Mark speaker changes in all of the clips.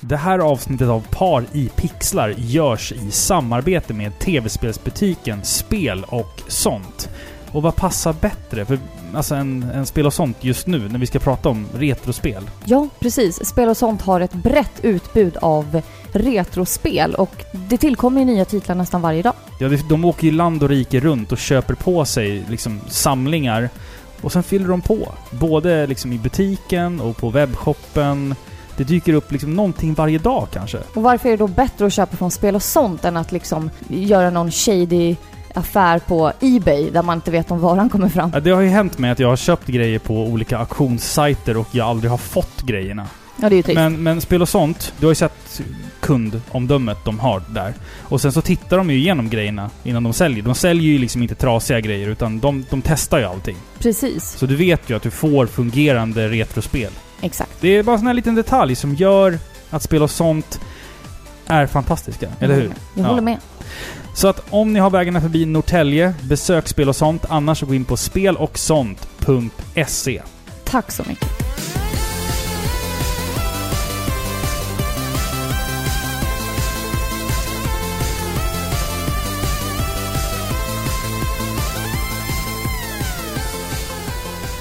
Speaker 1: Det här avsnittet av Par i pixlar görs i samarbete med tv-spelsbutiken Spel och sånt. Och vad passar bättre för alltså en, en spel och sånt just nu när vi ska prata om retrospel?
Speaker 2: Ja, precis. Spel och sånt har ett brett utbud av retrospel och det tillkommer ju nya titlar nästan varje dag.
Speaker 1: Ja, det- de åker ju land och rike runt och köper på sig liksom samlingar och sen fyller de på. Både liksom i butiken och på webbshoppen. Det dyker upp liksom någonting varje dag kanske.
Speaker 2: Och varför är det då bättre att köpa från spel och sånt än att liksom göra någon shady affär på Ebay där man inte vet om varan kommer fram?
Speaker 1: Ja, Det har ju hänt mig att jag har köpt grejer på olika auktionssajter och jag aldrig har fått grejerna.
Speaker 2: Ja, det är ju trist.
Speaker 1: Men, men spel och sånt, du har ju sett kundomdömet de har där. Och sen så tittar de ju igenom grejerna innan de säljer. De säljer ju liksom inte trasiga grejer utan de, de testar ju allting.
Speaker 2: Precis.
Speaker 1: Så du vet ju att du får fungerande retrospel.
Speaker 2: Exakt.
Speaker 1: Det är bara en sån här liten detalj som gör att spel och sånt är fantastiska,
Speaker 2: Mm.
Speaker 1: eller hur?
Speaker 2: Jag
Speaker 1: Ja.
Speaker 2: håller med.
Speaker 1: Så att om ni har vägarna förbi Norrtälje, besök spel och sånt. Annars så gå in på spelochsont.se.
Speaker 2: Tack så mycket.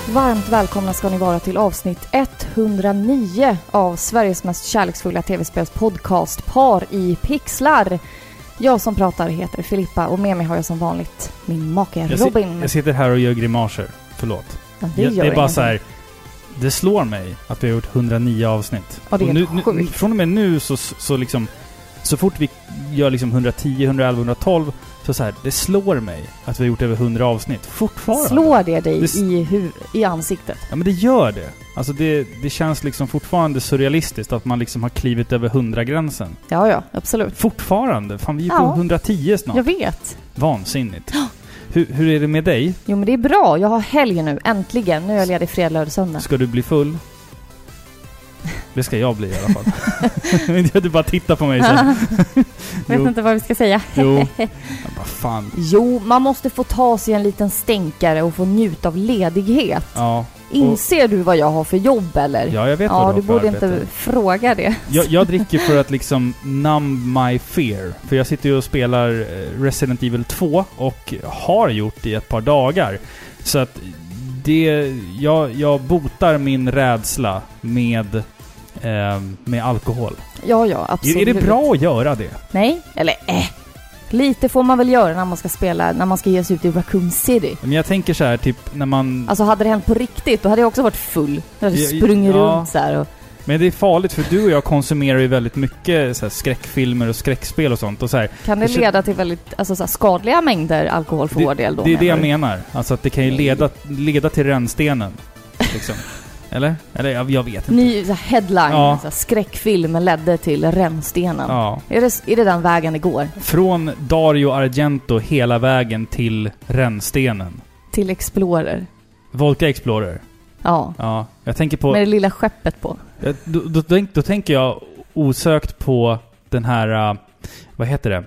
Speaker 2: Varmt välkomna ska ni vara till avsnitt 109 av Sveriges mest kärleksfulla tv-spelspodcast Par i pixlar. Jag som pratar heter Filippa och med mig har jag som vanligt min make
Speaker 1: Jag ser-
Speaker 2: Robin.
Speaker 1: Jag sitter här och gör grimaser. Förlåt.
Speaker 2: Ja,
Speaker 1: Det, jag, det
Speaker 2: gör
Speaker 1: är bara
Speaker 2: ingenting.
Speaker 1: så här. Det slår mig att vi har gjort 109 avsnitt.
Speaker 2: Ja, det är
Speaker 1: Och nu,
Speaker 2: helt
Speaker 1: nu,
Speaker 2: sjukt.
Speaker 1: från och med nu så, så liksom... Så fort vi gör liksom 110, 111, 112 så så här, det slår mig att vi har gjort över 100 avsnitt. Fortfarande.
Speaker 2: Slår det dig
Speaker 1: Det s-
Speaker 2: i, huv- i ansiktet?
Speaker 1: Ja men det gör det. Alltså det, det känns liksom fortfarande surrealistiskt att man liksom har klivit över 100-gränsen.
Speaker 2: Ja, ja, absolut.
Speaker 1: Fortfarande! Fan vi är på
Speaker 2: Ja.
Speaker 1: 110 snart.
Speaker 2: Jag vet.
Speaker 1: Vansinnigt. Hur, hur är det med dig?
Speaker 2: Jo, men det är bra. Jag har helg nu, äntligen. Nu är jag ledig fredag, lördag, söndag.
Speaker 1: Ska du bli full? Det ska jag bli i alla fall. du bara tittar på mig så. här.
Speaker 2: vet
Speaker 1: jo,
Speaker 2: inte vad vi ska säga.
Speaker 1: jo. Jag bara, fan.
Speaker 2: Jo, man måste få ta sig en liten stänkare och få njuta av ledighet.
Speaker 1: Ja,
Speaker 2: Inser du vad jag har för jobb eller?
Speaker 1: ja jag vet
Speaker 2: Ja,
Speaker 1: vad
Speaker 2: du
Speaker 1: du har för
Speaker 2: borde
Speaker 1: arbete.
Speaker 2: inte fråga det.
Speaker 1: Jag, jag dricker för att liksom numb my fear. För jag sitter ju och spelar eh, Resident Evil 2 och har gjort det i ett par dagar. Så att det... Jag, jag botar min rädsla med, eh, med alkohol.
Speaker 2: Ja, ja,
Speaker 1: Är,
Speaker 2: absolut.
Speaker 1: är det bra att göra det?
Speaker 2: Nej, eller eh. Lite får man väl göra när man ska spela, när man ska ge sig ut i Raccoon City.
Speaker 1: Men jag tänker så här typ när man...
Speaker 2: Alltså hade det hänt på riktigt, då hade jag också varit full. Jag hade
Speaker 1: Ja,
Speaker 2: sprungit
Speaker 1: ja.
Speaker 2: runt så här och
Speaker 1: Men det är farligt för du och jag konsumerar ju väldigt mycket så här, skräckfilmer och skräckspel och sånt. Och så här,
Speaker 2: Kan det
Speaker 1: Det kän-
Speaker 2: leda till väldigt alltså, så här, skadliga mängder alkohol för vår del då?
Speaker 1: det är det jag
Speaker 2: du?
Speaker 1: menar. Alltså att det kan ju leda, leda till rännstenen. Liksom. Eller? Eller jag, jag vet inte.
Speaker 2: Ny så här, headline,
Speaker 1: Ja.
Speaker 2: så här, skräckfilm ledde till rännstenen.
Speaker 1: Ja.
Speaker 2: Är, det, är det den vägen det går?
Speaker 1: Från Dario Argento hela vägen till Rännstenen.
Speaker 2: Till Explorer?
Speaker 1: Volca Explorer.
Speaker 2: Ja.
Speaker 1: Ja. Jag tänker på...
Speaker 2: Med det lilla skeppet på.
Speaker 1: jag- Eh, Då, då, tänk- då tänker jag osökt på den här... äh, Vad heter det?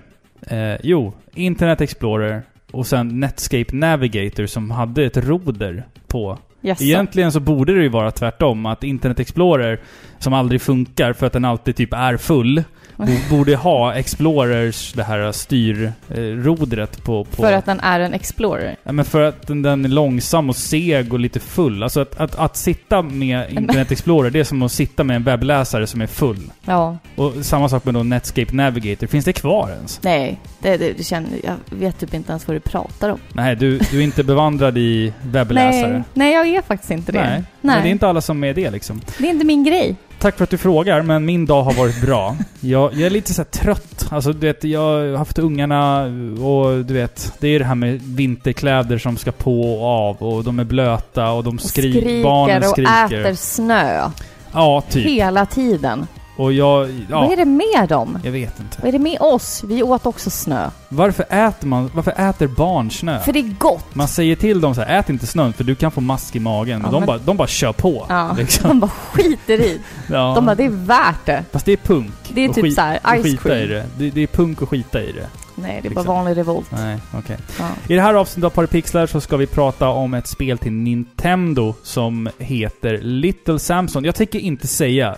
Speaker 1: Eh, jo, Internet Explorer och sen Netscape Navigator som hade ett roder på.
Speaker 2: Yes.
Speaker 1: Egentligen så borde det ju vara tvärtom. Att Internet Explorer, som aldrig funkar för att den alltid typ är full, bo- borde ha Explorers, det här eh, styrrodret på... på
Speaker 2: För att den är en Explorer.
Speaker 1: Ja, men för att den, den är långsam och seg och lite full. Alltså att, att, att sitta med Internet Explorer, det är som att sitta med en webbläsare som är full.
Speaker 2: Ja.
Speaker 1: Och samma sak med då Netscape Navigator. Finns det kvar ens?
Speaker 2: Nej, det, det, det känner, jag vet typ inte ens vad du pratar om.
Speaker 1: Nej, du, du är inte bevandrad i webbläsare.
Speaker 2: Nej, nej, jag är faktiskt inte det.
Speaker 1: Nej. Men det är inte alla som är det liksom.
Speaker 2: det är inte min grej.
Speaker 1: Tack för att du frågar, men min dag har varit bra. Jag, jag är lite så här trött. Alltså, du vet, jag har haft ungarna och du vet, det är ju det här med vinterkläder som ska på och av och de är blöta och de
Speaker 2: Och
Speaker 1: skri
Speaker 2: skriker
Speaker 1: barnen
Speaker 2: och
Speaker 1: skriker.
Speaker 2: äter snö.
Speaker 1: Ja, typ.
Speaker 2: Hela tiden.
Speaker 1: Och jag...
Speaker 2: Vad
Speaker 1: Ja,
Speaker 2: är det med dem?
Speaker 1: jag vet inte.
Speaker 2: Vad är det med oss? Vi åt också snö.
Speaker 1: Varför äter man... Varför äter barn snö?
Speaker 2: För det är gott.
Speaker 1: Man säger till dem så här, ät inte snön för du kan få mask i magen.
Speaker 2: Ja,
Speaker 1: och de,
Speaker 2: men-
Speaker 1: bara, de bara kör på.
Speaker 2: Ja.
Speaker 1: Liksom.
Speaker 2: De bara skiter i.
Speaker 1: Ja.
Speaker 2: De bara, det är värt det.
Speaker 1: Fast det är punk.
Speaker 2: Det är
Speaker 1: och
Speaker 2: typ
Speaker 1: skit-
Speaker 2: så här
Speaker 1: och
Speaker 2: ice
Speaker 1: skita i
Speaker 2: cream.
Speaker 1: det. det. Det är punk och skita i det.
Speaker 2: Nej, det är
Speaker 1: Liksom.
Speaker 2: bara vanlig revolt.
Speaker 1: Nej, okej.
Speaker 2: Ja.
Speaker 1: I det här avsnittet av Parapixlar så ska vi prata om ett spel till Nintendo som heter Little Samson. Jag tänker inte säga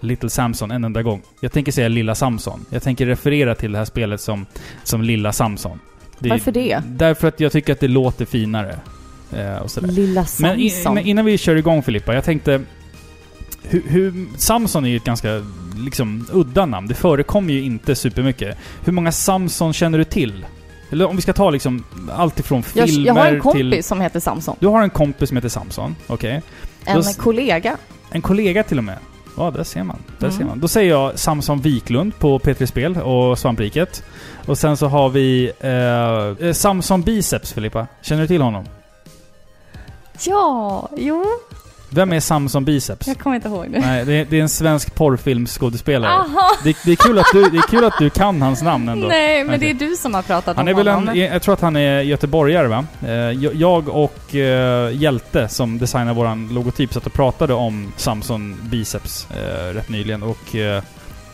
Speaker 1: Little Samson en enda gång. Jag tänker säga Lilla Samson. Jag tänker referera till det här spelet som, som Lilla Samson. Det-
Speaker 2: Varför det?
Speaker 1: Därför att jag tycker att det låter finare. Eh, och sådär.
Speaker 2: Lilla
Speaker 1: Men i-
Speaker 2: Samson.
Speaker 1: men innan vi kör igång Filippa, jag tänkte... Hur, hur, Samson är ju ett ganska liksom, udda namn. Det förekommer ju inte supermycket. Hur många Samson känner du till? Eller om vi ska ta liksom allt ifrån
Speaker 2: jag,
Speaker 1: filmer
Speaker 2: jag har en kompis
Speaker 1: till...
Speaker 2: som heter Samson.
Speaker 1: Du har en kompis som heter Samson, okej?
Speaker 2: En
Speaker 1: s-
Speaker 2: kollega.
Speaker 1: En kollega till och med. Ja, där ser man. Där
Speaker 2: Mm.
Speaker 1: ser man. Då säger jag Samson Wiklund på P3 Spel och Svampriket. Och sen så har vi eh, eh, Samson Biceps, Filippa. Känner du till honom?
Speaker 2: Ja, jo.
Speaker 1: Vem är Samson Biceps?
Speaker 2: Jag kommer inte ihåg det.
Speaker 1: Nej, det är, det är en svensk porrfilmsskådespelare.
Speaker 2: Aha!
Speaker 1: Det, det, är kul att du, det är kul att du kan hans namn ändå.
Speaker 2: Ah. Nej, men det
Speaker 1: Okej.
Speaker 2: är du som har pratat
Speaker 1: Han
Speaker 2: om
Speaker 1: är väl
Speaker 2: honom.
Speaker 1: en, jag tror att han är göteborgare va? Eh, jag- Jag och eh, Hjälte som designar våran logotyp satt och pratade om Samson Biceps eh, rätt nyligen och, eh,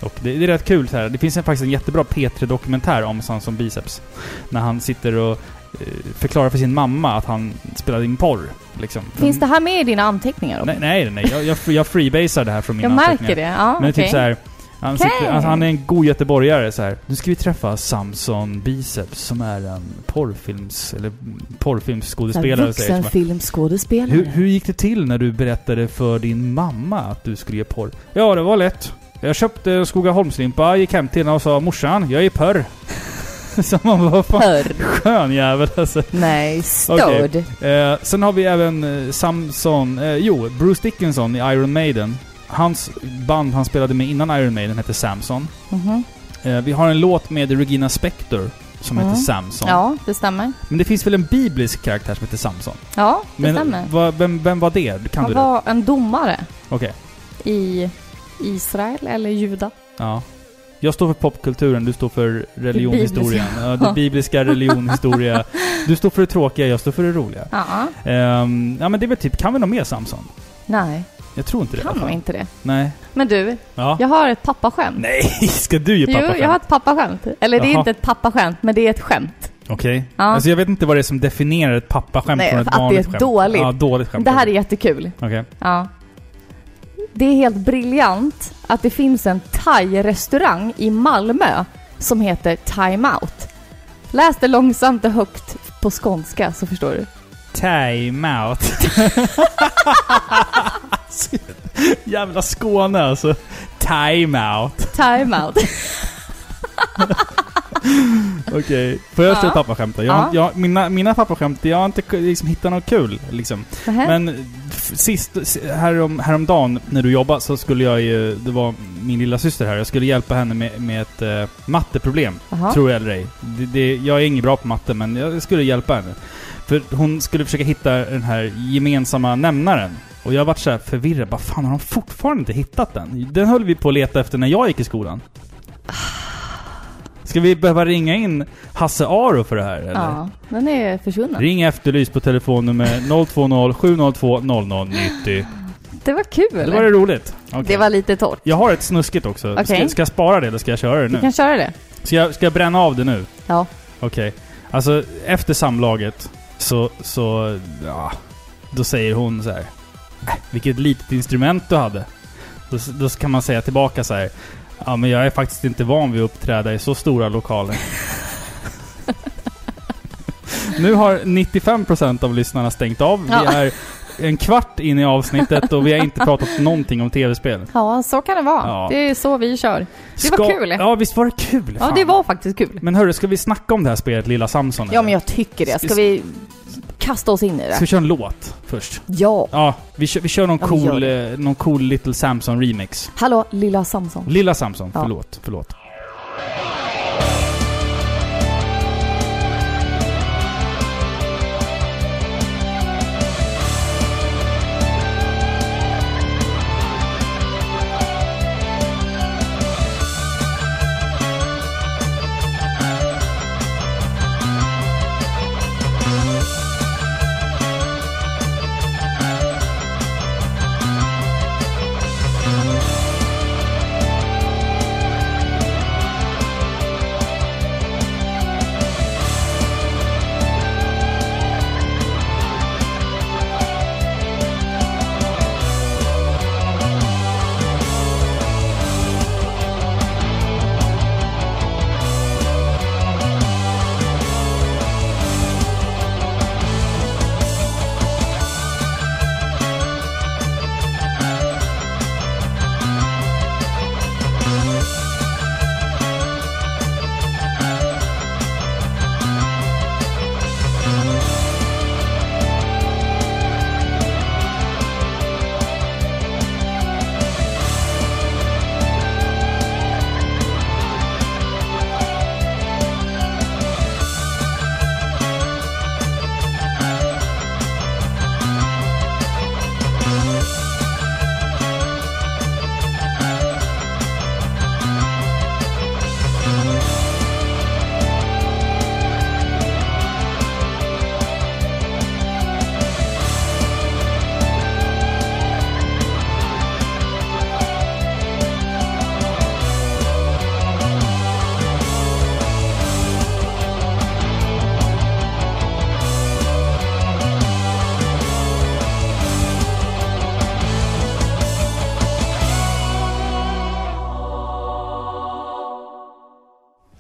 Speaker 1: och det, det är rätt kul så här. Det finns en, faktiskt en jättebra P3-dokumentär om Samson Biceps. När han sitter och eh, förklarar för sin mamma att han spelade in porr. Liksom.
Speaker 2: Finns det här med i dina anteckningar? Robin?
Speaker 1: Nej, nej, nej. Jag, jag, jag freebasar det här från mina
Speaker 2: jag märker
Speaker 1: anteckningar.
Speaker 2: det. Ja,
Speaker 1: Men det är
Speaker 2: Ah, okej.
Speaker 1: typ så här. Han,
Speaker 2: Okej.
Speaker 1: sitter, alltså, han är en god göteborgare så här. Nu ska vi träffa Samson Biceps som är en porrfilms... Eller porrfilmsskådespelare. säger jag.
Speaker 2: Vuxenfilmsskådespelare.
Speaker 1: Hur, hur gick det till när du berättade för din mamma att du skulle ge porr? Ja, det var lätt. Jag köpte Skogaholmslimpa, gick hem till henne och sa morsan, jag är porr. så man bara, vad fan
Speaker 2: Hör.
Speaker 1: skön jävel alltså.
Speaker 2: Nej,
Speaker 1: Okej.
Speaker 2: störd.
Speaker 1: Eh, sen har vi även eh, Samson, eh, jo, Bruce Dickinson i Iron Maiden. Hans band han spelade med innan Iron Maiden hette Samson.
Speaker 2: Mhm.
Speaker 1: Eh, vi har en låt med Regina Spektor som
Speaker 2: Mm.
Speaker 1: heter Samson.
Speaker 2: Ja, det stämmer.
Speaker 1: Men det finns väl en biblisk karaktär som heter Samson?
Speaker 2: Ja, det stämmer.
Speaker 1: Men va, vem, vem var det? Kan
Speaker 2: Han
Speaker 1: du det?
Speaker 2: var en domare
Speaker 1: Okej.
Speaker 2: i Israel eller Juda.
Speaker 1: Ja. Jag står för popkulturen, du står för religionhistorien. Ja, det bibliska religionhistoria. Du står för det tråkiga, jag står för det roliga.
Speaker 2: Ja.
Speaker 1: Ehm, ja men det är väl typ, kan vi något mer Samson?
Speaker 2: Nej,
Speaker 1: Jag tror inte det. i alla
Speaker 2: kan nog
Speaker 1: fall.
Speaker 2: inte det.
Speaker 1: Nej.
Speaker 2: Men du,
Speaker 1: Ja.
Speaker 2: jag har ett pappaskämt.
Speaker 1: Nej, ska du ge
Speaker 2: Jo,
Speaker 1: pappa
Speaker 2: jag har ett pappaskämt. Eller det är
Speaker 1: Jaha.
Speaker 2: inte ett pappaskämt, men det är ett skämt.
Speaker 1: Okej.
Speaker 2: Ja.
Speaker 1: Alltså jag vet inte vad det är som definierar ett pappaskämt
Speaker 2: Nej,
Speaker 1: från ett
Speaker 2: att det är
Speaker 1: vanligt
Speaker 2: ett
Speaker 1: skämt.
Speaker 2: dåligt.
Speaker 1: Ja, dåligt skämt.
Speaker 2: Det här är jättekul.
Speaker 1: Okej.
Speaker 2: Ja. Det är helt briljant att det finns en thai-restaurang i Malmö som heter Time Out. Läs det långsamt och högt på skånska så förstår du.
Speaker 1: Time out. Jävla Skåne alltså. Time out.
Speaker 2: Time Out.
Speaker 1: Okej. Får jag säga
Speaker 2: Ja.
Speaker 1: ett pappaskämt då? Jag, har-
Speaker 2: Ja.
Speaker 1: jag, mina, mina pappaskämt, jag har inte ku- liksom hittat något kul liksom.
Speaker 2: Nähä.
Speaker 1: Men f- sist, s- härom, häromdagen när du jobbade så skulle jag ju, det var min lilla syster här, jag skulle hjälpa henne med, med ett eh, matteproblem.
Speaker 2: Jaha.
Speaker 1: Tror jag eller ej. Det, det, jag är inget bra på matte, men jag skulle hjälpa henne. För hon skulle försöka hitta den här gemensamma nämnaren. Och jag vart så här förvirrad. Vad fan, har de fortfarande inte hittat den? Den höll vi på att leta efter när jag gick i skolan. Ska vi behöva ringa in Hasse Aro för det här, eller?
Speaker 2: Ja, den är försvunnen.
Speaker 1: Ring Efterlys på telefonnummer 020 702 0090.
Speaker 2: Det var kul.
Speaker 1: Det var det roligt. Okej.
Speaker 2: Det var lite torrt.
Speaker 1: Jag har ett snuskigt också. Ska,
Speaker 2: Okej.
Speaker 1: ska jag spara det eller ska jag köra det
Speaker 2: Du
Speaker 1: nu?
Speaker 2: kan köra det.
Speaker 1: Ska jag, ska jag bränna av det nu?
Speaker 2: Ja.
Speaker 1: Okej. Alltså, efter samlaget så, så, ja. Då säger hon så här. "Äh, Vilket litet instrument du hade. Då, s- då kan man säga tillbaka så här. Ja, men jag är faktiskt inte van vid att uppträda i så stora lokaler. nu har 95% av lyssnarna stängt av.
Speaker 2: Ja.
Speaker 1: Vi är en kvart in i avsnittet och vi har inte pratat någonting om tv-spel.
Speaker 2: Ja, så kan det vara.
Speaker 1: Ja.
Speaker 2: Det är så vi kör. Det var kul.
Speaker 1: Ja, visst var det kul?
Speaker 2: Ja,
Speaker 1: Fan.
Speaker 2: det var faktiskt kul.
Speaker 1: Men hörru, ska vi snacka om det här spelet Lilla Samson?
Speaker 2: Ja, men jag tycker det. Ska vi kasta oss in i
Speaker 1: Ska vi
Speaker 2: det?
Speaker 1: köra en låt först?
Speaker 2: Ja.
Speaker 1: Ja, vi kör, vi kör någon,
Speaker 2: Ja, vi gör
Speaker 1: cool, eh, någon cool Little Samson remix.
Speaker 2: Hallå, lilla Samson.
Speaker 1: Lilla Samson,
Speaker 2: Ja.
Speaker 1: förlåt, förlåt.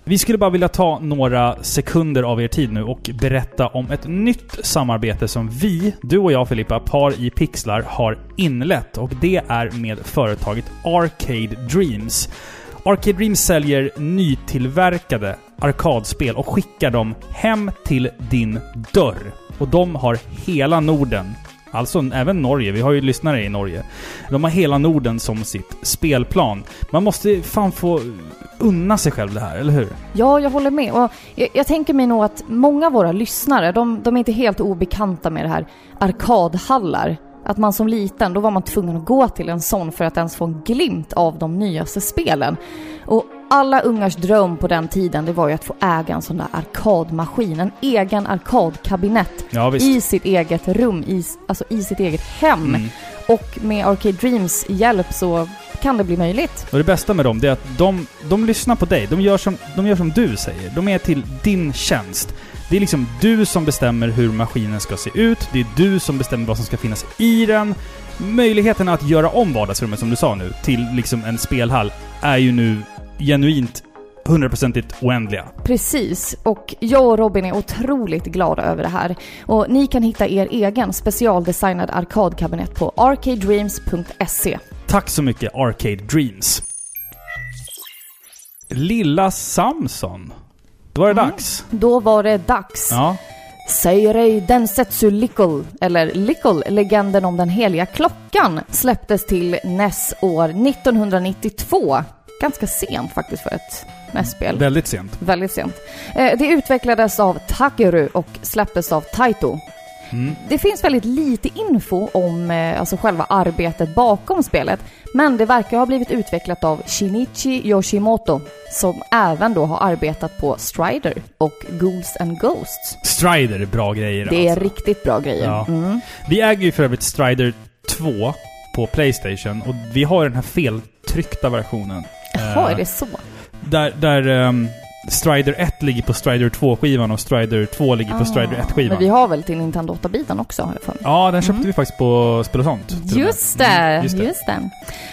Speaker 1: Vi skulle bara vilja ta några sekunder av er tid nu och berätta om ett nytt samarbete som vi, du och jag Filippa, par i pixlar, har inlett. Och det är med företaget Arcade Dreams. Arcade Dreams säljer nytillverkade arkadspel och skickar dem hem till din dörr. Och de har hela Norden, alltså även Norge, vi har ju lyssnare i Norge. De har hela Norden som sitt spelplan. Man måste fan få unna sig själv det här, eller hur?
Speaker 2: Ja, jag håller med. Och jag, jag tänker mig nog att många av våra lyssnare, de, de är inte helt obekanta med det här arkadhallar. Att man som liten, då var man tvungen att gå till en sån för att ens få en glimt av de nyaste spelen. Och alla ungars dröm på den tiden, det var ju att få äga en sån där arkadmaskin, en egen arkadkabinett
Speaker 1: Ja,
Speaker 2: i sitt eget rum, i, s- alltså i sitt eget hem.
Speaker 1: Mm.
Speaker 2: Och med Arcade Dreams hjälp så kan det bli möjligt.
Speaker 1: Och det bästa med dem, det är att de, de lyssnar på dig. De gör, som, de gör som du säger. De är till din tjänst. Det är liksom du som bestämmer hur maskinen ska se ut. Det är du som bestämmer vad som ska finnas i den. Möjligheten att göra om vardagsrummet, som du sa nu, till liksom en spelhall är ju nu genuint hundraprocentigt oändliga.
Speaker 2: Precis, och jag och Robin är otroligt glada över det här. Och ni kan hitta er egen specialdesignad arkadkabinett på arcadedreams.se.
Speaker 1: Tack så mycket Arcade Dreams. Lilla Samson. Då var det
Speaker 2: Mm.
Speaker 1: dags.
Speaker 2: Då var det dags.
Speaker 1: Ja.
Speaker 2: Seirei Densetsu Lickle, eller Lickle, legenden om den heliga klockan, släpptes till NES år 1992. Ganska sent faktiskt för ett E NES-spel.
Speaker 1: Väldigt sent.
Speaker 2: Väldigt sent. Eh, Det utvecklades av Takeru och släpptes av Taito.
Speaker 1: Mm.
Speaker 2: Det finns väldigt lite info om eh, alltså själva arbetet bakom spelet, men det verkar ha blivit utvecklat av Shinichi Yoshimoto, som även då har arbetat på Strider och Ghouls and Ghosts.
Speaker 1: Strider är bra grejer
Speaker 2: Det är
Speaker 1: alltså.
Speaker 2: riktigt bra grejer.
Speaker 1: Ja.
Speaker 2: Mm.
Speaker 1: Vi äger ju för övrigt Strider 2 på Playstation och vi har den här feltryckta versionen.
Speaker 2: Jaha,
Speaker 1: Eh,
Speaker 2: är det så?
Speaker 1: Där, där ehm, Strider 1 ligger på Strider 2-skivan och Strider 2 ligger på Strider
Speaker 2: Ah. Men vi
Speaker 1: 1-skivan.
Speaker 2: har väl till Nintendo 8-biten också, har jag för mig.
Speaker 1: Ja, den köpte
Speaker 2: Mm.
Speaker 1: vi faktiskt på Spel och sånt. till och med.
Speaker 2: Just det,
Speaker 1: Mm,
Speaker 2: just det,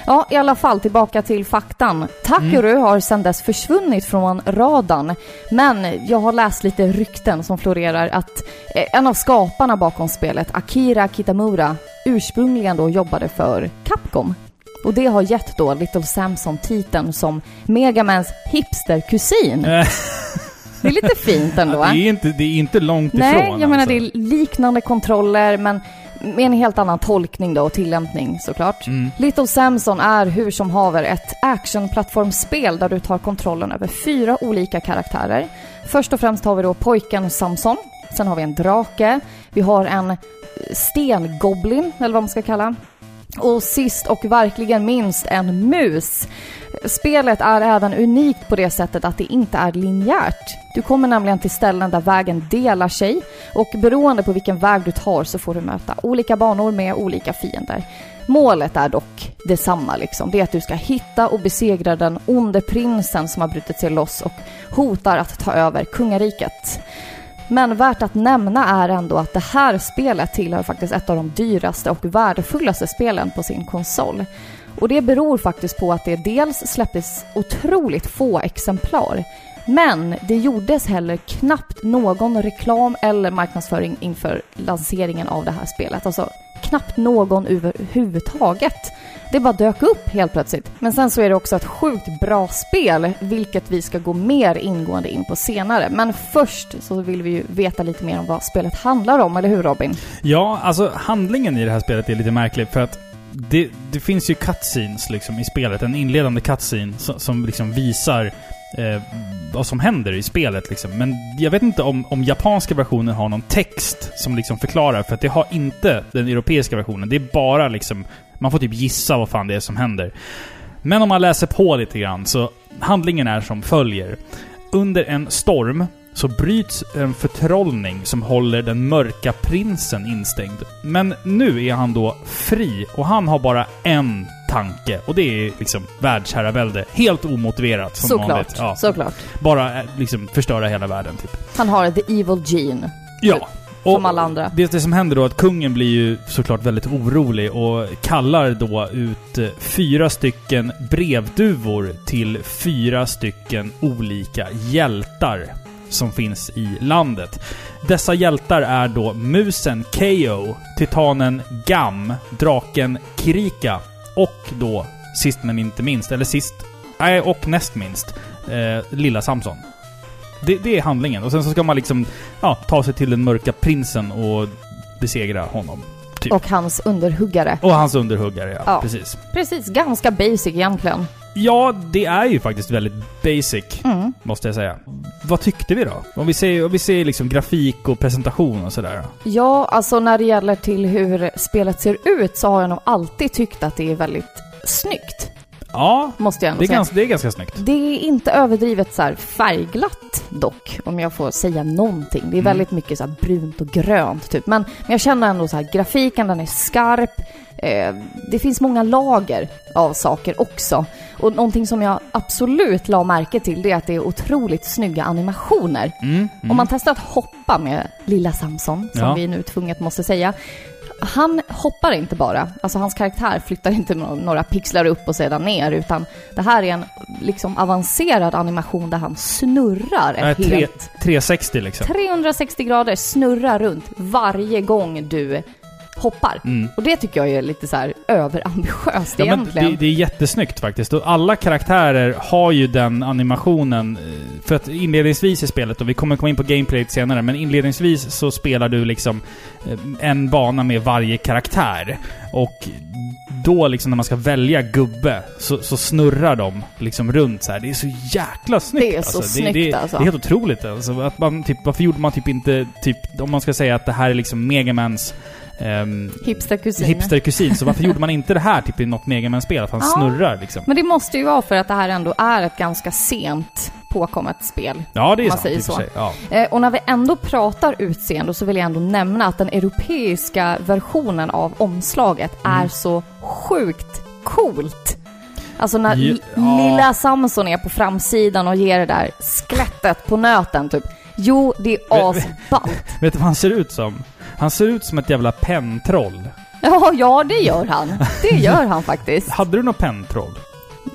Speaker 2: Ja, i alla fall tillbaka till faktan. Takeru har sedan dess försvunnit från radarn, men jag har läst lite rykten som florerar att eh, en av skaparna bakom spelet, Akira Kitamura, ursprungligen då jobbade för Capcom. Och det har gett då Little Samson titeln som Megamans hipsterkusin.
Speaker 1: Eh.
Speaker 2: Det är lite fint ändå. eh?
Speaker 1: Ja, det, är inte, det är inte långt
Speaker 2: Nej,
Speaker 1: ifrån
Speaker 2: jag menar
Speaker 1: alltså.
Speaker 2: det är liknande kontroller men med en helt annan tolkning då och tillämpning såklart.
Speaker 1: Mm.
Speaker 2: Little Samson är hur som haver ett actionplattformsspel där du tar kontrollen över fyra olika karaktärer. Först och främst har vi då pojken Samson, sen har vi en drake, vi har en eh, stengoblin eller vad man ska kalla. Och sist och verkligen minst en mus. Spelet är även unikt på det sättet att det inte är linjärt. Du kommer nämligen till ställen där vägen delar sig och beroende på vilken väg du tar så får du möta olika banor med olika fiender. Målet är dock detsamma liksom. Det är att du ska hitta och besegra den onde prinsen som har brutit sig loss och hotar att ta över kungariket. Men värt att nämna är ändå att det här spelet tillhör faktiskt ett av de dyraste och värdefullaste spelen på sin konsol. Och det beror faktiskt på att det dels släpptes otroligt få exemplar, men det gjordes heller knappt någon reklam eller marknadsföring inför lanseringen av det här spelet. Alltså knappt någon överhuvudtaget. Det bara dök upp helt plötsligt. Men sen så är det också ett sjukt bra spel, vilket vi ska gå mer ingående in på senare. Men först så vill vi ju veta lite mer om vad spelet handlar om, eller hur Robin?
Speaker 1: Ja, alltså handlingen i det här spelet är lite märklig för att det, det finns ju cutscenes liksom i spelet. En inledande cutscene som, som liksom visar eh, vad som händer i spelet liksom. Men jag vet inte om, om japanska versionen har någon text som liksom förklarar för att det har inte den europeiska versionen. Det är bara liksom, man får typ gissa vad fan det är som händer. Men om man läser på lite grann så handlingen är som följer. Under en storm så bryts en förtrollning som håller den mörka prinsen instängd. Men nu är han då fri och han har bara en tanke och det är liksom världsherravälde. Helt omotiverat som vanligt.
Speaker 2: Såklart,
Speaker 1: Ja.
Speaker 2: såklart.
Speaker 1: Bara eh, liksom förstöra hela världen typ.
Speaker 2: Han har the evil gene.
Speaker 1: Ja.
Speaker 2: Typ, Som alla andra.
Speaker 1: Det, det som händer då är att kungen blir ju såklart väldigt orolig och kallar då ut eh, fyra stycken brevduvor till fyra stycken olika hjältar som finns i landet. Dessa hjältar är då musen Keo, titanen Gam, draken Kirika och då sist men inte minst, eller sist, nej och näst minst, eh, lilla Samson. Det, det är handlingen. Och sen så ska man liksom ja, ta sig till den mörka prinsen och besegra honom. Typ.
Speaker 2: Och hans underhuggare.
Speaker 1: Och hans underhuggare, ja.
Speaker 2: Ja.
Speaker 1: Precis.
Speaker 2: Precis, ganska basic egentligen.
Speaker 1: Ja, det är ju faktiskt väldigt basic,
Speaker 2: Mm.
Speaker 1: måste jag säga. Vad tyckte vi då? Om vi ser, om vi ser liksom grafik och presentation och sådär.
Speaker 2: Ja, alltså när det gäller till hur spelet ser ut så har jag nog alltid tyckt att det är väldigt snyggt.
Speaker 1: Ja,
Speaker 2: Måste jag ändå
Speaker 1: det är,
Speaker 2: säga.
Speaker 1: ganska, det är ganska snyggt.
Speaker 2: Det är inte överdrivet så här färgglatt dock, om jag får säga någonting. Det är
Speaker 1: Mm.
Speaker 2: väldigt mycket så här brunt och grönt typ. Men, men jag känner ändå så här, grafiken den är skarp. Eh, det finns många lager av saker också. Och någonting som jag absolut la märke till det är att det är otroligt snygga animationer.
Speaker 1: Mm, mm.
Speaker 2: Om man testar att hoppa med lilla Samson, som
Speaker 1: Ja.
Speaker 2: vi nu tvunget måste säga. Han hoppar inte bara, alltså hans karaktär flyttar inte no- några pixlar upp och sedan ner, utan det här är en liksom avancerad animation där han snurrar
Speaker 1: Nej,
Speaker 2: ett
Speaker 1: tre-
Speaker 2: helt...
Speaker 1: 360 liksom.
Speaker 2: 360 grader snurrar runt varje gång du hoppar.
Speaker 1: Mm.
Speaker 2: Och det tycker jag är lite så här överambitiöst
Speaker 1: Ja, men
Speaker 2: egentligen.
Speaker 1: det, det är jättesnyggt faktiskt. Och alla karaktärer har ju den animationen. eh, För att inledningsvis i spelet, och vi kommer komma in på gameplayet senare, men inledningsvis så spelar du liksom eh, en bana med varje karaktär. Och då liksom när man ska välja gubbe så, så snurrar de liksom runt så här. Det är så jäkla snyggt
Speaker 2: Det är så snyggt,
Speaker 1: det,
Speaker 2: alltså.
Speaker 1: det är helt otroligt alltså. Att man, typ, varför gjorde man typ inte, typ, om man ska säga att det här är liksom Megamans ehm,
Speaker 2: Hipsterkusiner.
Speaker 1: hipsterkusin, så varför gjorde man inte det här typ i något Megaman-spel? Att han
Speaker 2: Ja.
Speaker 1: snurrar liksom.
Speaker 2: Men det måste ju vara för att det här ändå är ett ganska sent påkommet spel.
Speaker 1: Ja, det är
Speaker 2: Man
Speaker 1: sant
Speaker 2: säger
Speaker 1: i och för
Speaker 2: så.
Speaker 1: sig. Ja.
Speaker 2: Eh, Och när vi ändå pratar utseende så vill jag ändå nämna att den europeiska versionen av omslaget
Speaker 1: Mm.
Speaker 2: är så sjukt coolt. Alltså när
Speaker 1: Ja.
Speaker 2: li- lilla Samson är på framsidan och ger det där sklättet på nöten typ. Jo, det är
Speaker 1: Men-
Speaker 2: asballt.
Speaker 1: Vet du vad han ser ut som? Han ser ut som ett jävla pentroll.
Speaker 2: Ja, ja, det gör han. Det gör han faktiskt.
Speaker 1: Hade du något pentroll?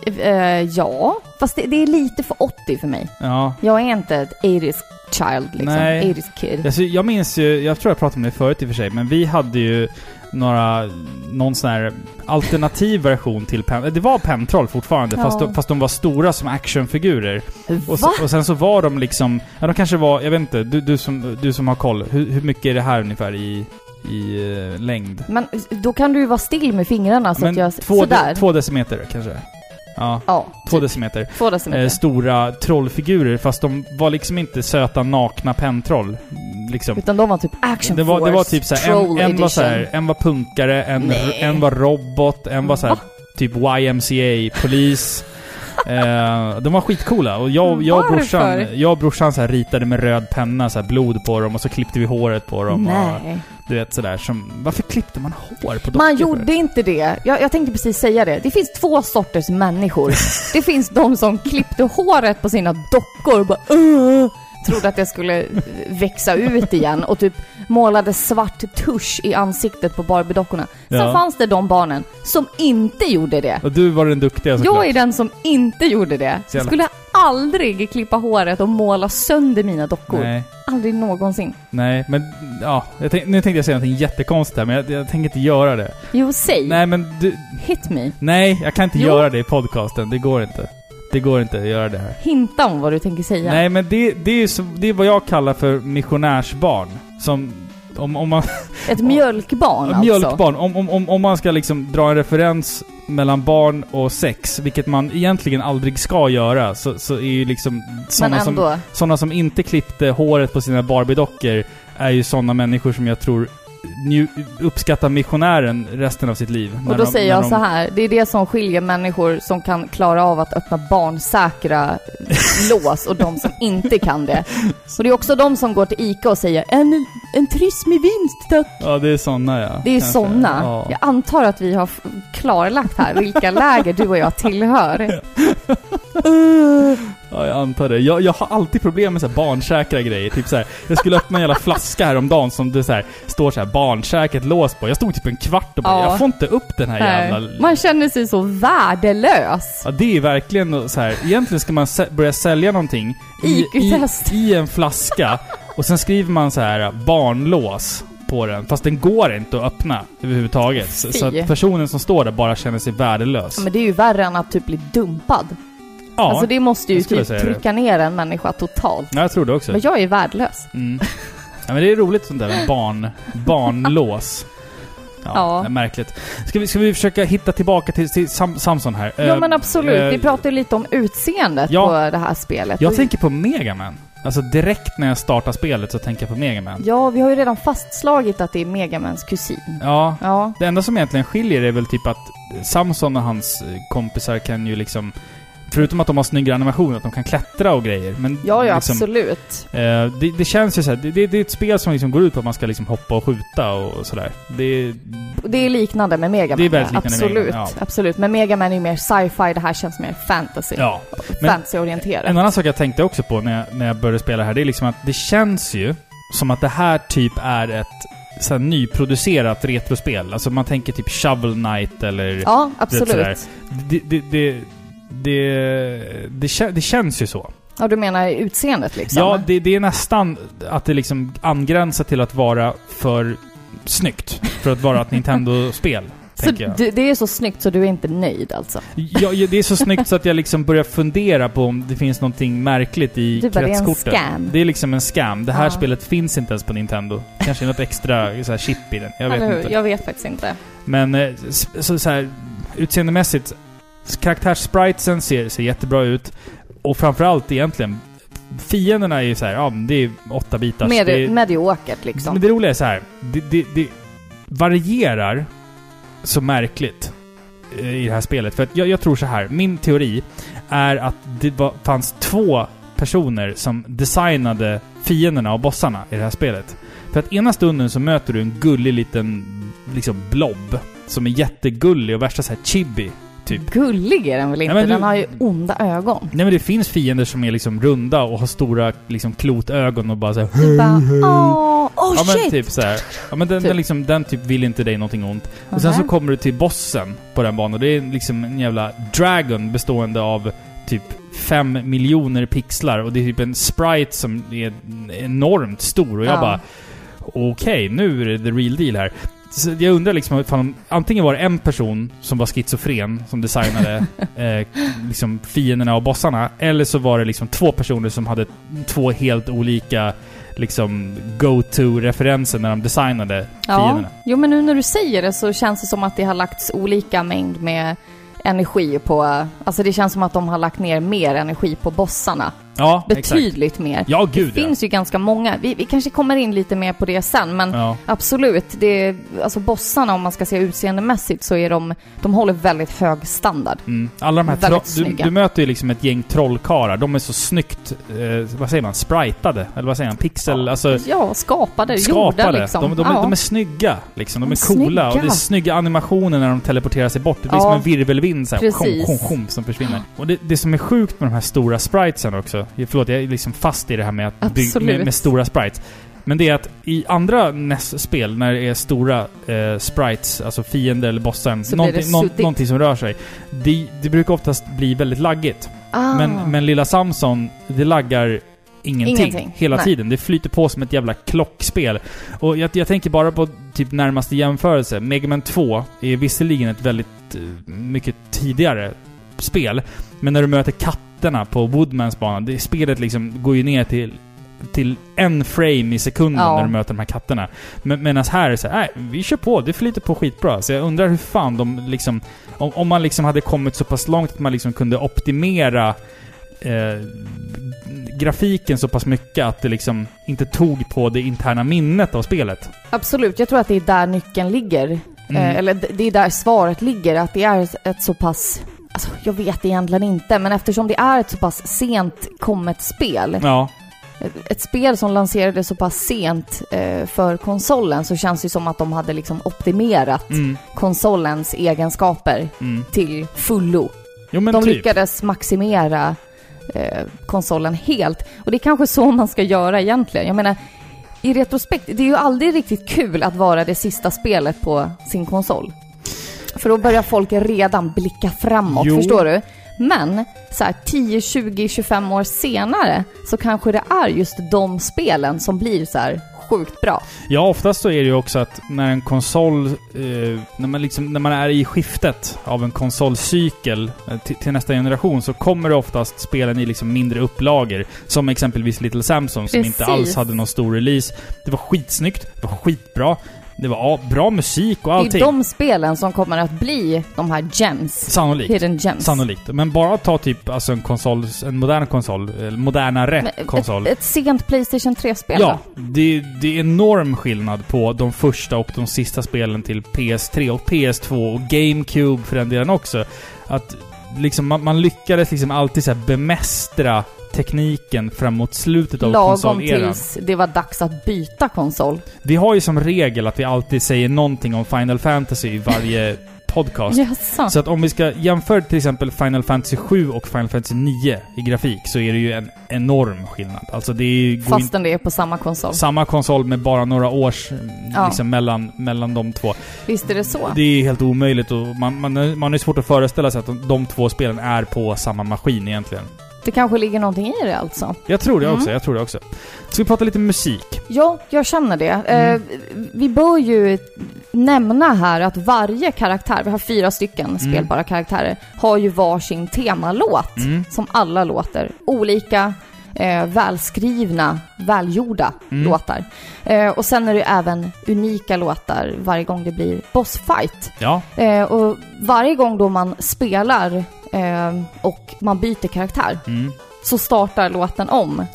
Speaker 2: Eh, ja, fast det, det är lite för 80 för mig.
Speaker 1: Ja.
Speaker 2: Jag är inte ett 80s child liksom.
Speaker 1: Nej.
Speaker 2: 80s kid.
Speaker 1: Alltså, jag minns ju, jag tror jag pratade om det förut i och för sig, men vi hade ju några, någon sån här alternativ version till pen, eh, Det var pentroll fortfarande,
Speaker 2: Ja.
Speaker 1: fast, de, fast de var stora som actionfigurer. Och,
Speaker 2: Va?
Speaker 1: se- och sen så var de liksom, ja de kanske var, jag vet inte, du, du, som, du som har koll, hur, hur mycket är det här ungefär i, i eh, längd?
Speaker 2: Men då kan du ju vara still med fingrarna så Alltså att jag...
Speaker 1: två,
Speaker 2: sådär.
Speaker 1: de, två decimeter kanske? Ja,
Speaker 2: Ja,
Speaker 1: två
Speaker 2: typ.
Speaker 1: decimeter.
Speaker 2: två decimeter.
Speaker 1: Eh, stora trollfigurer, fast de var liksom inte söta nakna pentroll. Liksom.
Speaker 2: Utan de var typ action
Speaker 1: Det var, det var typ såhär, en,
Speaker 2: Troll
Speaker 1: en var
Speaker 2: edition.
Speaker 1: såhär, en var punkare, en,
Speaker 2: Nej.
Speaker 1: en var robot, en var såhär
Speaker 2: Va?
Speaker 1: typ YMCA, polis. eh, de var skitcoola och jag, jag och brorsan,
Speaker 2: Varför?
Speaker 1: jag och brorsan så här ritade med röd penna så här blod på dem och så klippte vi håret på dem. Och,
Speaker 2: Nej.
Speaker 1: du vet sådär som... Varför klippte man hår på dockor?
Speaker 2: Man
Speaker 1: för?
Speaker 2: gjorde inte det. Jag, jag tänkte precis säga det. Det finns två sorters människor. det finns de som klippte håret på sina dockor och bara "Åh", trodde att det skulle eh, växa ut igen och typ målade svart tusch i ansiktet på Barbie-dockorna. Sen
Speaker 1: Ja.
Speaker 2: fanns det de barnen som inte gjorde det.
Speaker 1: Och du var den duktiga såklart.
Speaker 2: Jag är den som inte gjorde det.
Speaker 1: Så
Speaker 2: Jag
Speaker 1: jävla-
Speaker 2: skulle aldrig klippa håret och måla sönder mina dockor.
Speaker 1: Nej.
Speaker 2: Aldrig någonsin.
Speaker 1: Nej, men ja. Jag tänk, nu tänkte jag säga någonting jättekonstigt här, men jag, jag tänker inte göra det.
Speaker 2: Jo, säg.
Speaker 1: Nej, men du...
Speaker 2: Hit me.
Speaker 1: Nej, jag kan inte
Speaker 2: Jo.
Speaker 1: göra det i podcasten. Det går inte. Det går inte att göra det här.
Speaker 2: Hinta om vad du tänker säga.
Speaker 1: Nej, men det, det, är ju så, det är vad jag kallar för missionärsbarn. Som... Om, om man...
Speaker 2: Ett mjölkbarn alltså.
Speaker 1: Mjölkbarn. Om, om, om, om man ska liksom dra en referens mellan barn och sex, vilket man egentligen aldrig ska göra, så, så är ju liksom
Speaker 2: Men
Speaker 1: sådana som,
Speaker 2: ändå.
Speaker 1: såna som inte klippte håret på sina Barbie-dockor är ju sådana människor som jag tror nju- uppskattar missionären resten av sitt liv.
Speaker 2: Och
Speaker 1: När
Speaker 2: då
Speaker 1: de-
Speaker 2: säger
Speaker 1: när
Speaker 2: jag
Speaker 1: de-
Speaker 2: så här, det är det som skiljer människor som kan klara av att öppna barnsäkra lås och de som inte kan det. Och det är också de som går till ICA och säger en, en triss med vinst tack.
Speaker 1: Ja, det är sådana ja.
Speaker 2: Det är
Speaker 1: Kanske.
Speaker 2: sådana.
Speaker 1: Ja.
Speaker 2: Jag antar att vi har f- klarlagt här vilka läger du och jag tillhör.
Speaker 1: Ja. Ja, jag antar det. Jag, jag har alltid problem med så här barnsäkra grejer. Typ så här, jag skulle öppna en jävla flaska häromdagen som det så här, står så här barnsäkert lås på. Jag stod typ en kvart och bara,
Speaker 2: Ja.
Speaker 1: jag får inte upp den här
Speaker 2: Nej.
Speaker 1: jävla...
Speaker 2: Man känner sig så värdelös.
Speaker 1: Ja, det är verkligen så här. Egentligen ska man sä- börja sälja någonting i,
Speaker 2: IQ-test.
Speaker 1: i en flaska och sen skriver man så här barnlås på den. Fast den går inte att öppna överhuvudtaget. Så, så
Speaker 2: Fy.
Speaker 1: att personen som står där bara känner sig värdelös.
Speaker 2: Men det är ju värre än att typ bli dumpad.
Speaker 1: ja,
Speaker 2: alltså det måste ju
Speaker 1: jag skulle
Speaker 2: typ
Speaker 1: säga det.
Speaker 2: trycka ner en människa totalt.
Speaker 1: ja, jag tror det också.
Speaker 2: Men jag är värdelös.
Speaker 1: Mm. Ja, men det är roligt sånt där med barn, barnlås. Ja,
Speaker 2: Ja.
Speaker 1: det är märkligt. Ska vi, ska vi försöka hitta tillbaka till, till Sam, Samson här?
Speaker 2: ja
Speaker 1: Eh,
Speaker 2: men absolut,
Speaker 1: eh,
Speaker 2: vi pratade ju lite om utseendet
Speaker 1: Ja.
Speaker 2: på det här spelet.
Speaker 1: Jag
Speaker 2: Och-
Speaker 1: tänker på Megaman. Alltså direkt när jag startar spelet så tänker jag på Megaman.
Speaker 2: Ja, vi har ju redan fastslagit att det är Megamans kusin.
Speaker 1: Ja.
Speaker 2: Ja,
Speaker 1: Det enda som egentligen skiljer är väl typ att Samson och hans eh, kompisar kan ju liksom... Förutom att de har snyggare animationer, att de kan klättra och grejer. Men
Speaker 2: ja, ja
Speaker 1: liksom,
Speaker 2: absolut.
Speaker 1: Eh, det, det känns ju såhär, det, det, det är ett spel som liksom går ut på att man ska liksom hoppa och skjuta och sådär. Det,
Speaker 2: Det är liknande med Megaman.
Speaker 1: Det är väldigt liknande med
Speaker 2: absolut,
Speaker 1: Megaman,
Speaker 2: absolut. Men Megaman är ju mer sci-fi, det här känns mer fantasy.
Speaker 1: ja. men-
Speaker 2: Fantasy-orienterat.
Speaker 1: En annan sak jag tänkte också på när jag, när jag började spela här, det är liksom att det känns ju som att det här typ är ett så här, nyproducerat retrospel. Alltså man tänker typ Shovel Knight eller...
Speaker 2: Ja,
Speaker 1: Det är
Speaker 2: absolut.
Speaker 1: Det, det, det, det, det, kä- det känns ju så.
Speaker 2: Ja, du menar utseendet liksom?
Speaker 1: Ja, det, det är nästan att det liksom angränsar till att vara för snyggt. För att vara ett Nintendo-spel.
Speaker 2: så
Speaker 1: tänker jag.
Speaker 2: du, det är så snyggt så du är inte nöjd alltså?
Speaker 1: Ja, ja, det är så snyggt så att jag liksom börjar fundera på om det finns någonting märkligt i
Speaker 2: Du bara, det är en
Speaker 1: kretskorten.
Speaker 2: scam.
Speaker 1: Det är liksom en scam. Det här
Speaker 2: Ja.
Speaker 1: spelet finns inte ens på Nintendo. Kanske är något extra så här, chip i den. Jag vet
Speaker 2: Eller hur?
Speaker 1: inte.
Speaker 2: Jag vet faktiskt inte.
Speaker 1: Men eh, s- så, så här, utseendemässigt, s- karaktärsspriten ser, ser jättebra ut. Och framförallt egentligen, fienderna är ju så här, ja men det är åtta bitar.
Speaker 2: Med,
Speaker 1: det,
Speaker 2: mediokert liksom.
Speaker 1: men det roliga är så här, det, det, det varierar så märkligt eh, i det här spelet. För att jag, jag tror så här, min teori är att det var, fanns två personer som designade fienderna och bossarna i det här spelet. För att ena stunden så möter du en gullig liten liksom blob som är jättegullig och värsta så här chibi. typ.
Speaker 2: Gullig är den väl inte?
Speaker 1: men du-
Speaker 2: Den har ju onda ögon.
Speaker 1: Nej men det finns fiender som är liksom runda och har stora liksom klotögon och bara så här,
Speaker 2: Du bara, åh, oh
Speaker 1: Ja
Speaker 2: shit!
Speaker 1: men typ så här. Ja men den,
Speaker 2: Typ.
Speaker 1: den liksom, den typ vill inte dig någonting ont. Och sen så
Speaker 2: Nähä.
Speaker 1: kommer du till bossen på den banan. Det är liksom en jävla dragon bestående av typ 5 miljoner pixlar och det är typ en sprite som är enormt stor och jag
Speaker 2: Ja.
Speaker 1: bara okej, nu är det the real deal här. Så jag undrar liksom ifall de- antingen var det en person som var schizofren som designade eh, liksom fienderna och bossarna eller så var det liksom två personer som hade två helt olika liksom go-to-referenser när de designade
Speaker 2: Ja,
Speaker 1: fienderna.
Speaker 2: jo men nu när du säger det så känns det som att det har lagts olika mängd med energi på, alltså det känns som att de har lagt ner mer energi på bossarna.
Speaker 1: Ja, exakt.
Speaker 2: Betydligt mer.
Speaker 1: Ja, gud
Speaker 2: det
Speaker 1: ja.
Speaker 2: finns ju ganska många, vi, vi kanske kommer in lite mer på det sen men
Speaker 1: ja.
Speaker 2: absolut, det är, alltså bossarna om man ska se utseendemässigt så är de, de håller väldigt hög standard.
Speaker 1: Mm. Alla de här
Speaker 2: Väldigt
Speaker 1: tro- du,
Speaker 2: snygga.
Speaker 1: du möter ju liksom ett gäng trollkarlar. De är så snyggt, eh, vad säger man, spritade? Eller vad säger man, pixel, alltså
Speaker 2: Ja, skapade, gjorda
Speaker 1: skapade.
Speaker 2: liksom.
Speaker 1: De, de,
Speaker 2: ja.
Speaker 1: är, de är snygga liksom. De
Speaker 2: De
Speaker 1: är
Speaker 2: är
Speaker 1: coola och det är
Speaker 2: snygga.
Speaker 1: snygga animationer när de teleporterar sig bort. Det blir
Speaker 2: Ja.
Speaker 1: som en virvelvind såhär,
Speaker 2: Precis.
Speaker 1: sjom, sjom, sjom, som försvinner. Och det, det som är sjukt med de här stora spritesen också, förlåt jag är liksom fast i det här med, att by-
Speaker 2: Absolut.
Speaker 1: med, med stora sprites. Men det är att i andra NES-spel, när det är stora eh, sprites, alltså fiender eller bossen,
Speaker 2: Så blir
Speaker 1: någonting,
Speaker 2: det
Speaker 1: någon-
Speaker 2: suddigt.
Speaker 1: någonting som rör sig. Det, det brukar oftast bli väldigt laggigt.
Speaker 2: ah.
Speaker 1: Men, men lilla Samson, det laggar ingenting,
Speaker 2: Ingenting.
Speaker 1: hela
Speaker 2: Nej.
Speaker 1: tiden. Det flyter på som ett jävla klockspel. Och jag, jag tänker bara på typ närmaste jämförelse. Mega Man 2 är visserligen ett väldigt eh, mycket tidigare spel, men när du möter katterna på Woodmans bana, det spelet liksom går ju ner till till en frame i sekunden
Speaker 2: Ja.
Speaker 1: när du möter de här katterna. Men medan här är det så här, nej, vi kör på, det flyter på skitbra. Så jag undrar hur fan de liksom... Om, om man liksom hade kommit så pass långt att man liksom kunde optimera eh, grafiken så pass mycket att det liksom inte tog på det interna minnet av spelet. Mm.
Speaker 2: Absolut, jag tror att det är där nyckeln ligger. Eh, Eller d- det är där svaret ligger, att det är ett så pass... Alltså, jag vet egentligen inte, men eftersom det är ett så pass sent kommet spel,
Speaker 1: Ja.
Speaker 2: ett- ett spel som lanserades så pass sent eh, för konsolen, så känns det som att de hade liksom optimerat
Speaker 1: Mm,
Speaker 2: konsolens egenskaper
Speaker 1: mm.
Speaker 2: till fullo.
Speaker 1: Jo men
Speaker 2: de
Speaker 1: typ.
Speaker 2: lyckades maximera eh, konsolen helt. Och det är kanske så man ska göra egentligen. Jag menar, i retrospekt, det är ju aldrig riktigt kul att vara det sista spelet på sin konsol. För då börjar folk redan blicka framåt,
Speaker 1: Jo.
Speaker 2: förstår du? Men så här, 10, 20, 25 år senare så kanske det är just de spelen som blir så här sjukt bra.
Speaker 1: Ja, oftast så är det ju också att när en konsol... Eh, när, man liksom, när man är i skiftet av en konsolcykel eh, till, till nästa generation så kommer det oftast spelen i liksom mindre upplagor. Som exempelvis Little Samson som inte
Speaker 2: Precis.
Speaker 1: alls hade någon stor release. Det var skitsnyggt, det var skitbra, det var ja, bra musik och
Speaker 2: Det
Speaker 1: allting.
Speaker 2: är de spelen som kommer att bli de här gems.
Speaker 1: Sannolikt.
Speaker 2: Hidden gems.
Speaker 1: Sannolikt. Men bara att ta typ alltså en konsol, en modern konsol, eller modernare
Speaker 2: Men eh, ett-
Speaker 1: konsol.
Speaker 2: Ett, ett sent Playstation 3-spel
Speaker 1: Ja, det, det är enorm skillnad på de första och de sista spelen till PS3 och PS2 och GameCube för den delen också. Att liksom man, man lyckades liksom alltid så här bemästra tekniken framåt slutet av
Speaker 2: Lagom
Speaker 1: konsoleran.
Speaker 2: tills det var dags att byta konsol.
Speaker 1: Vi har ju som regel att vi alltid säger någonting om Final Fantasy i varje podcast.
Speaker 2: Jaså?
Speaker 1: Så att om vi ska jämföra till exempel Final Fantasy 7 och Final Fantasy 9 i grafik så är det ju en enorm skillnad. Alltså det är ju... går
Speaker 2: Fastän det är på samma konsol.
Speaker 1: Samma konsol med bara några års eh,
Speaker 2: Ja.
Speaker 1: liksom, mellan, mellan de två.
Speaker 2: Visst är det så?
Speaker 1: Det är helt omöjligt och man, man, man är svårt att föreställa sig att de, de två spelen är på samma maskin egentligen.
Speaker 2: Det kanske ligger någonting i det alltså.
Speaker 1: Jag tror det
Speaker 2: Mm.
Speaker 1: också, jag tror det också. Ska vi prata lite musik?
Speaker 2: Ja, jag känner det.
Speaker 1: Mm.
Speaker 2: Eh, vi bör ju nämna här att varje karaktär, vi har fyra stycken
Speaker 1: Mm.
Speaker 2: spelbara karaktärer, har ju varsin temalåt.
Speaker 1: Mm.
Speaker 2: Som alla låter. Olika, eh, välskrivna, välgjorda
Speaker 1: Mm.
Speaker 2: låtar. Eh, och sen är det ju även unika låtar varje gång det blir bossfight.
Speaker 1: Ja.
Speaker 2: Eh, och varje gång då man spelar eh, och man byter karaktär
Speaker 1: Mm.
Speaker 2: så startar låten om.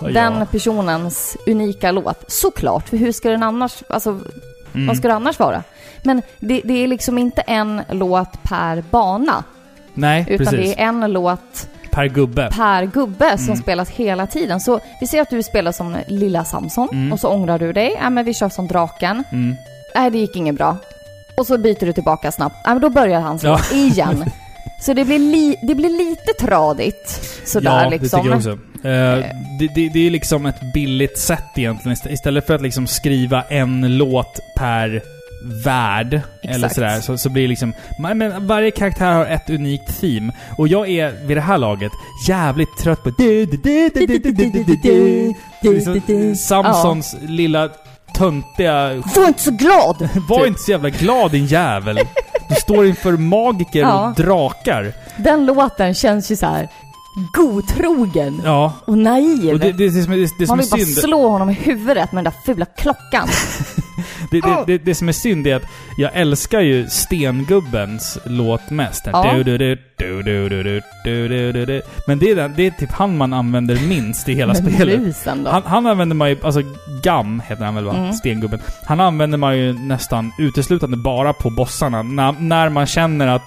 Speaker 2: Den
Speaker 1: ja.
Speaker 2: personens unika låt. Såklart, för hur ska den annars, alltså
Speaker 1: Mm.
Speaker 2: vad ska det annars vara? Men det, det är liksom inte en låt per bana,
Speaker 1: Nej,
Speaker 2: utan
Speaker 1: precis.
Speaker 2: det är en låt
Speaker 1: Per gubbe.
Speaker 2: per gubbe som
Speaker 1: Mm.
Speaker 2: spelas hela tiden. Så vi ser att du spelar som lilla Samson
Speaker 1: Mm.
Speaker 2: och så ångrar du dig. Ja, men vi kör som draken.
Speaker 1: Mm.
Speaker 2: Nej, det gick inget bra. Och så byter du tillbaka snabbt. Ja, men då börjar han slå
Speaker 1: Ja.
Speaker 2: igen. Så det blir, li- det blir lite tradigt sådär
Speaker 1: ja,
Speaker 2: liksom.
Speaker 1: det tycker jag också. Eh, det, det, det är liksom ett billigt sätt egentligen. Ist- Istället för att liksom skriva en låt per värld, eller
Speaker 2: Exakt.
Speaker 1: sådär, så, så blir det liksom... man- Men varje karaktär har ett unikt theme. Och jag är, vid det här laget, jävligt trött på... Du, du, du, du, du, du, du, du, du. Liksom, Samsons lilla töntiga...
Speaker 2: Var inte så glad!
Speaker 1: Var
Speaker 2: Typ.
Speaker 1: inte så jävla glad din jävel! Du står inför magiker
Speaker 2: Ja.
Speaker 1: och drakar.
Speaker 2: Den låten känns ju så här godtrogen
Speaker 1: Ja.
Speaker 2: och naiv.
Speaker 1: Och det, det, det, som är- det, det som
Speaker 2: Man
Speaker 1: är
Speaker 2: vill bara
Speaker 1: synd...
Speaker 2: slå honom i huvudet med den där fula klockan.
Speaker 1: Det, det,
Speaker 2: Ah.
Speaker 1: det, det som är synd är att jag älskar ju Stengubbens låt mest. Den
Speaker 2: Ja.
Speaker 1: du- du- du- du- du- du- du- du- du- du- du. Men det är, den, det är typ han man använder minst i hela
Speaker 2: Men
Speaker 1: spelet.
Speaker 2: musen då.
Speaker 1: Han, han använder man ju, alltså Gam heter han väl va?
Speaker 2: Mm.
Speaker 1: Stengubben. Han använder man ju nästan uteslutande bara på bossarna. När, när man känner att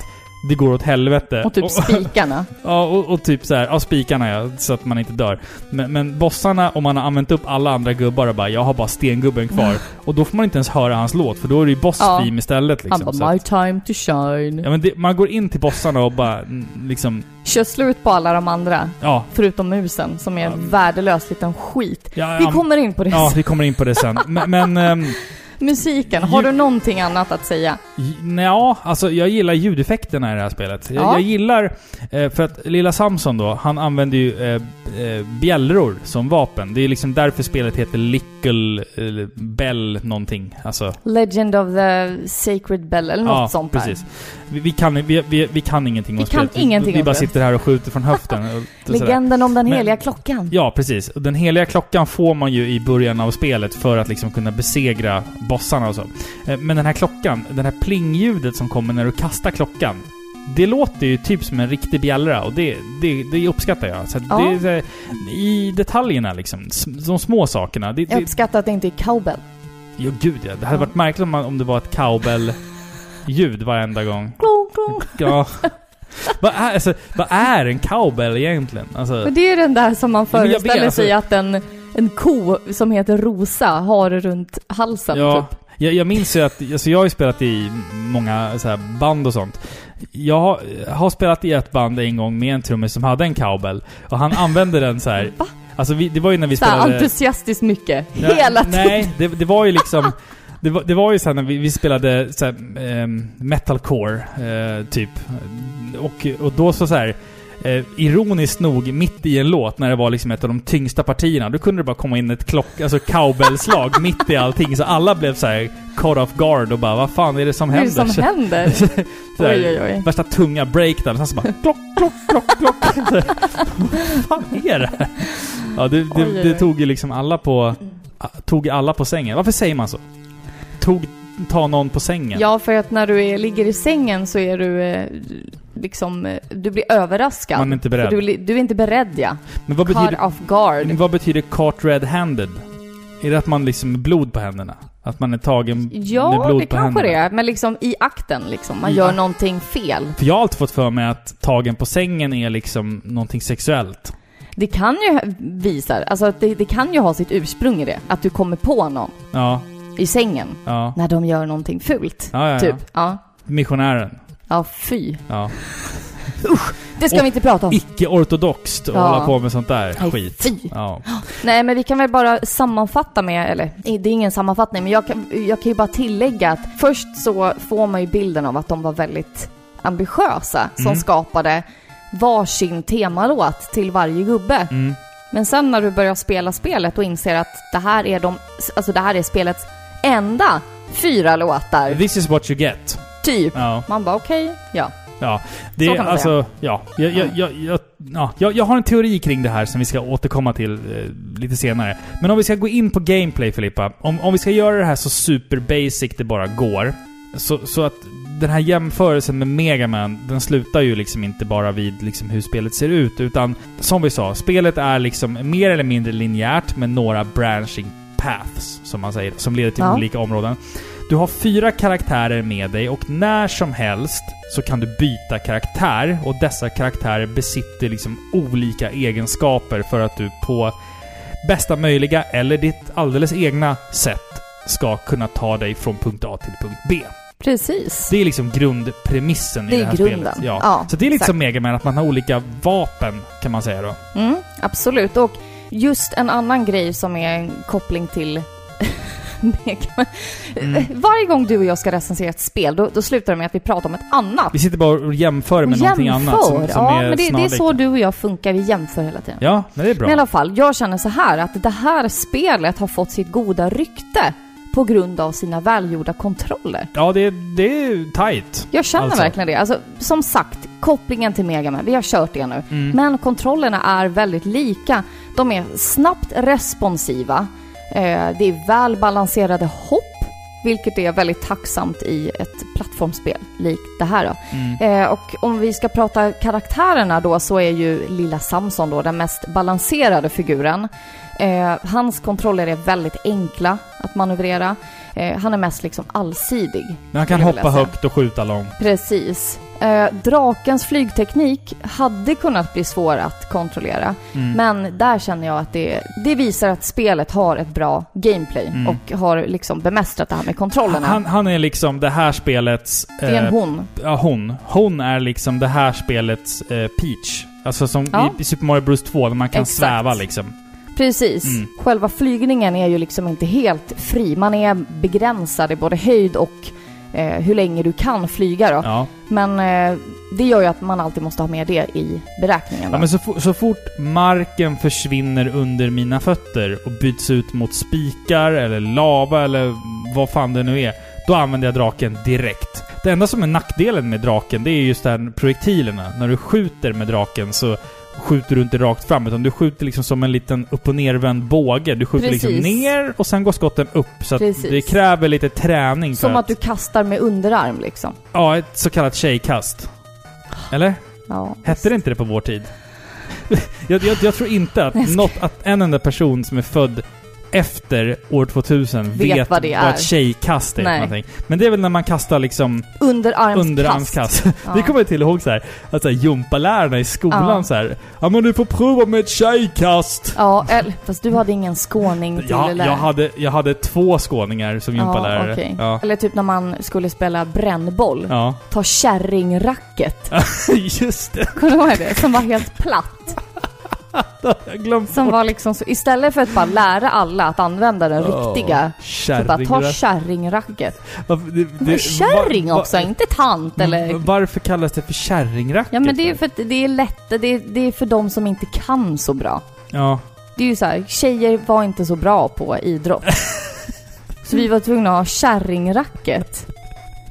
Speaker 1: det går åt helvete.
Speaker 2: Och typ spikarna.
Speaker 1: Ja, och, och typ så här, ja spikarna ja, så att man inte dör. Men, men bossarna, om man har använt upp alla andra gubbar och bara jag har bara stengubben kvar. Och då får man inte ens höra hans låt, för då är det ju boss
Speaker 2: Ja.
Speaker 1: theme istället liksom.
Speaker 2: Han
Speaker 1: Så
Speaker 2: bara
Speaker 1: att,
Speaker 2: “My time to shine”.
Speaker 1: ja, men det, man går in till bossarna och bara mm, liksom,
Speaker 2: Kör slut på alla de andra,
Speaker 1: ja.
Speaker 2: förutom musen som är en värdelös liten skit.
Speaker 1: ja,
Speaker 2: Vi
Speaker 1: ja,
Speaker 2: kommer in på det.
Speaker 1: Ja, vi kommer in på det sen. Men, men ehm,
Speaker 2: Musiken, har du någonting annat att säga?
Speaker 1: Ja, alltså jag gillar ljudeffekterna i det här spelet. Jag,
Speaker 2: Ja.
Speaker 1: jag gillar, eh, för att lilla Samson då, han använder ju eh, eh, bjällror som vapen. Det är liksom därför spelet heter Lickle eller Bell någonting. Alltså,
Speaker 2: Legend of the Sacred Bell eller något sånt där.
Speaker 1: precis. Vi, vi, kan, vi, vi, vi kan ingenting
Speaker 2: Vi
Speaker 1: om
Speaker 2: kan
Speaker 1: spelet.
Speaker 2: ingenting
Speaker 1: vi, vi
Speaker 2: om
Speaker 1: bara
Speaker 2: spelet.
Speaker 1: sitter här och skjuter från höften. och, och sådär.
Speaker 2: Legenden om den
Speaker 1: Men-
Speaker 2: heliga klockan.
Speaker 1: Ja, precis. Och Den heliga klockan får man ju i början av spelet för att liksom kunna besegra bossarna och så. Eh, Men den här klockan, den här plingljudet som kommer när du kastar klockan, det låter ju typ som en riktig bjällra och det, det, det uppskattar jag. Så att
Speaker 2: Ja.
Speaker 1: det, är så här, I detaljerna liksom, s- de små sakerna. Det,
Speaker 2: Jag
Speaker 1: det,
Speaker 2: uppskattar att det inte är cowbell.
Speaker 1: jo, gud ja. Det hade
Speaker 2: Ja.
Speaker 1: varit märkligt om, man, om det var ett cowbell-ljud varenda gång.
Speaker 2: Klong, klong.
Speaker 1: Ja. vad, är, alltså, vad är en cowbell egentligen? Alltså,
Speaker 2: Men det är den där som man
Speaker 1: men jag alltså- vet,
Speaker 2: föreställer sig att en, en ko som heter Rosa har runt halsen.
Speaker 1: Ja,
Speaker 2: Typ.
Speaker 1: jag, jag minns ju att, alltså jag har ju spelat i många så här band och sånt. Jag har- har spelat i ett band en gång med en trummis som hade en cowbell. Och han använde den så här.
Speaker 2: Va?
Speaker 1: Alltså vi, det var ju när vi
Speaker 2: Såhär
Speaker 1: spelade...
Speaker 2: entusiastiskt mycket.
Speaker 1: Nej,
Speaker 2: Hela tiden.
Speaker 1: Nej, det, det var ju liksom... Det var, det var ju sen när vi, vi spelade så här, ehm, metalcore, eh, typ. Och, och då så, så här, eh, ironiskt nog, mitt i en låt, när det var liksom ett av de tyngsta partierna, då kunde det bara komma in ett klock, alltså cowbellslag mitt i allting. Så alla blev så här caught off guard och bara vad fan är det som
Speaker 2: Vad är
Speaker 1: händer?
Speaker 2: det som händer?
Speaker 1: Så här,
Speaker 2: Oj, oj, oj.
Speaker 1: Värsta tunga breakdown, sen så bara klock, klock, klock, klock. Så här, Vad fan är det här? Ja, det,
Speaker 2: Oj, oj,
Speaker 1: det,
Speaker 2: oj.
Speaker 1: det tog ju liksom alla på... a- Tog alla på sängen. Varför säger man så? Tog... Ta någon på sängen.
Speaker 2: Ja, för att när du är, ligger i sängen så är du eh, liksom, eh, du blir överraskad.
Speaker 1: Man är inte beredd.
Speaker 2: För Du, li- du är inte beredd ja.
Speaker 1: Men vad
Speaker 2: Caught
Speaker 1: betyder,
Speaker 2: off guard.
Speaker 1: vad betyder caught red-handed? Är det att man liksom är blod på händerna? Att man är tagen med
Speaker 2: Ja,
Speaker 1: blod
Speaker 2: det
Speaker 1: på
Speaker 2: kanske
Speaker 1: händerna?
Speaker 2: det är. Men liksom i akten liksom. Man
Speaker 1: I
Speaker 2: gör
Speaker 1: ak-
Speaker 2: någonting fel.
Speaker 1: För jag har alltid fått för mig att tagen på sängen är liksom någonting sexuellt.
Speaker 2: Det kan ju visa, alltså att det, det kan ju ha sitt ursprung i det. Att du kommer på någon
Speaker 1: Ja,
Speaker 2: i sängen
Speaker 1: ja.
Speaker 2: när de gör någonting fult.
Speaker 1: Ja, ja,
Speaker 2: Typ.
Speaker 1: ja.
Speaker 2: Ja.
Speaker 1: Missionären.
Speaker 2: Ja, fy.
Speaker 1: Ja.
Speaker 2: Det ska
Speaker 1: Och-
Speaker 2: vi inte prata om.
Speaker 1: Icke-ortodoxt att
Speaker 2: Ja.
Speaker 1: hålla på med sånt där
Speaker 2: Nej,
Speaker 1: skit.
Speaker 2: Fy.
Speaker 1: Ja.
Speaker 2: Nej, men vi kan väl bara sammanfatta med, eller det är ingen sammanfattning, men jag kan, jag kan ju bara tillägga att först så får man ju bilden av att de var väldigt ambitiösa som
Speaker 1: Mm.
Speaker 2: skapade varsin temalåt till varje gubbe.
Speaker 1: Mm.
Speaker 2: Men sen när du börjar spela spelet och inser att det här är, de, alltså det här är spelets enda fyra låtar,
Speaker 1: This is what you get.
Speaker 2: typ.
Speaker 1: Ja.
Speaker 2: Man bara okej, ja.
Speaker 1: Det
Speaker 2: Så
Speaker 1: är
Speaker 2: kan man
Speaker 1: alltså, ja. Jag, jag, jag, jag, ja. Jag, jag har en teori kring det här som vi ska återkomma till eh, lite senare. Men om vi ska gå in på gameplay Filippa. Om, om vi ska göra det här så super basic det bara går. Så, så att den här jämförelsen med Mega Man, den slutar ju liksom inte bara vid liksom hur spelet ser ut. Utan som vi sa, spelet är liksom mer eller mindre linjärt med några branching paths, som man säger, som leder till
Speaker 2: Ja.
Speaker 1: olika områden. Du har fyra karaktärer med dig och när som helst så kan du byta karaktär och dessa karaktärer besitter liksom olika egenskaper för att du på bästa möjliga eller ditt alldeles egna sätt ska kunna ta dig från punkt A till punkt B.
Speaker 2: Precis.
Speaker 1: Det är liksom grundpremissen
Speaker 2: Det
Speaker 1: i
Speaker 2: är
Speaker 1: det här
Speaker 2: grunden.
Speaker 1: spelet. Ja.
Speaker 2: Ja,
Speaker 1: så det är lite
Speaker 2: exakt.
Speaker 1: som Mega Man, att man har olika vapen kan man säga då.
Speaker 2: Mm, absolut. Och just en annan grej som är en koppling till Mega Man.
Speaker 1: Mm.
Speaker 2: Varje gång du och jag ska recensera ett spel, då, då slutar det med att vi pratar om ett annat.
Speaker 1: Vi sitter bara och jämför med
Speaker 2: Och
Speaker 1: någonting annat som, som
Speaker 2: ja,
Speaker 1: är
Speaker 2: men det, det är
Speaker 1: snarlikt.
Speaker 2: så du och jag funkar, vi jämför hela tiden.
Speaker 1: Ja, men det är bra.
Speaker 2: Men i alla fall, jag känner så här att det här spelet har fått sitt goda rykte på grund av sina välgjorda kontroller.
Speaker 1: Ja, det, det är tight.
Speaker 2: Jag känner
Speaker 1: Alltså.
Speaker 2: verkligen det. Alltså, som sagt, kopplingen till Mega Man, vi har kört det nu.
Speaker 1: Mm.
Speaker 2: Men kontrollerna är väldigt lika. De är snabbt responsiva. Eh, Det är välbalanserade hopp, vilket är väldigt tacksamt i ett plattformsspel likt det här. Då.
Speaker 1: Mm.
Speaker 2: Eh, Och om vi ska prata karaktärerna då så är ju lilla Samson då den mest balanserade figuren. Eh, Hans kontroller är väldigt enkla att manövrera. Eh, Han är mest liksom allsidig.
Speaker 1: Men han
Speaker 2: skulle
Speaker 1: kan
Speaker 2: jag vilja
Speaker 1: hoppa
Speaker 2: säga.
Speaker 1: högt och skjuta långt.
Speaker 2: Precis. Eh, Drakens flygteknik hade kunnat bli svår att kontrollera.
Speaker 1: Mm.
Speaker 2: Men där känner jag att det, det visar att spelet har ett bra gameplay
Speaker 1: Mm.
Speaker 2: och har liksom bemästrat det här med kontrollerna.
Speaker 1: han, han är liksom det här spelets...
Speaker 2: det är
Speaker 1: eh,
Speaker 2: en hon.
Speaker 1: Ja, hon. Hon är liksom det här spelets eh, Peach. Alltså som
Speaker 2: Ja.
Speaker 1: i, i Super Mario Bros 2, där man kan
Speaker 2: Exakt.
Speaker 1: sväva liksom.
Speaker 2: Precis.
Speaker 1: Mm.
Speaker 2: Själva flygningen är ju liksom inte helt fri. Man är begränsad i både höjd och eh, hur länge du kan flyga då.
Speaker 1: Ja.
Speaker 2: Men eh, det gör ju att man alltid måste ha med det i beräkningen. Då.
Speaker 1: Ja, men så, fo- så fort marken försvinner under mina fötter och byts ut mot spikar eller lava eller vad fan det nu är, då använder jag draken direkt. Det enda som är nackdelen med draken, det är just den projektilerna. När du skjuter med draken så skjuter du inte rakt fram, utan du skjuter liksom som en liten upp och nervänd båge. Du skjuter
Speaker 2: Precis.
Speaker 1: liksom ner och sen går skotten upp. Så att
Speaker 2: Precis.
Speaker 1: det kräver lite träning
Speaker 2: Som
Speaker 1: för
Speaker 2: att du kastar med underarm liksom.
Speaker 1: Ja, ett så kallat tjejkast. Eller?
Speaker 2: Ja.
Speaker 1: Hette det inte det på vår tid? jag, jag, jag tror inte att, något, att en enda person som är född efter år 2000 vet,
Speaker 2: vad det
Speaker 1: vad
Speaker 2: är.
Speaker 1: ett tjejkast är. för
Speaker 2: Nej.
Speaker 1: någonting. Men det är väl när man kastar liksom
Speaker 2: Underarmskast.
Speaker 1: underarmskast.
Speaker 2: Ja.
Speaker 1: Det kommer jag till ihåg så här, att så här, gympalärarna i skolan
Speaker 2: Ja.
Speaker 1: så här. Ja men du får prova med ett tjejkast.
Speaker 2: Ja, eller, fast du hade ingen skåning till
Speaker 1: Ja,
Speaker 2: lärare.
Speaker 1: jag hade, jag hade två skåningar som gympalärare.
Speaker 2: Ja, okej.
Speaker 1: ja.
Speaker 2: Eller typ när man skulle spela brännboll.
Speaker 1: ja.
Speaker 2: Ta kärringracket.
Speaker 1: Just det,
Speaker 2: Kommer du ihåg det? Som var helt platt.
Speaker 1: jag glömde
Speaker 2: Som var liksom så, istället för att bara lära alla att använda den riktiga. Så bara ta
Speaker 1: Kärringracket.
Speaker 2: kärringracket.
Speaker 1: Varför- det- det-
Speaker 2: Men kärring
Speaker 1: va- va-
Speaker 2: också, inte tant eller...
Speaker 1: Mm. Varför kallas det för kärringracket?
Speaker 2: Ja men det är ju
Speaker 1: för?
Speaker 2: för att det är lätt, det är, det är för de som inte kan så bra.
Speaker 1: Ja.
Speaker 2: Det är ju så här, tjejer var inte så bra på idrott. så vi var tvungna att ha kärringracket.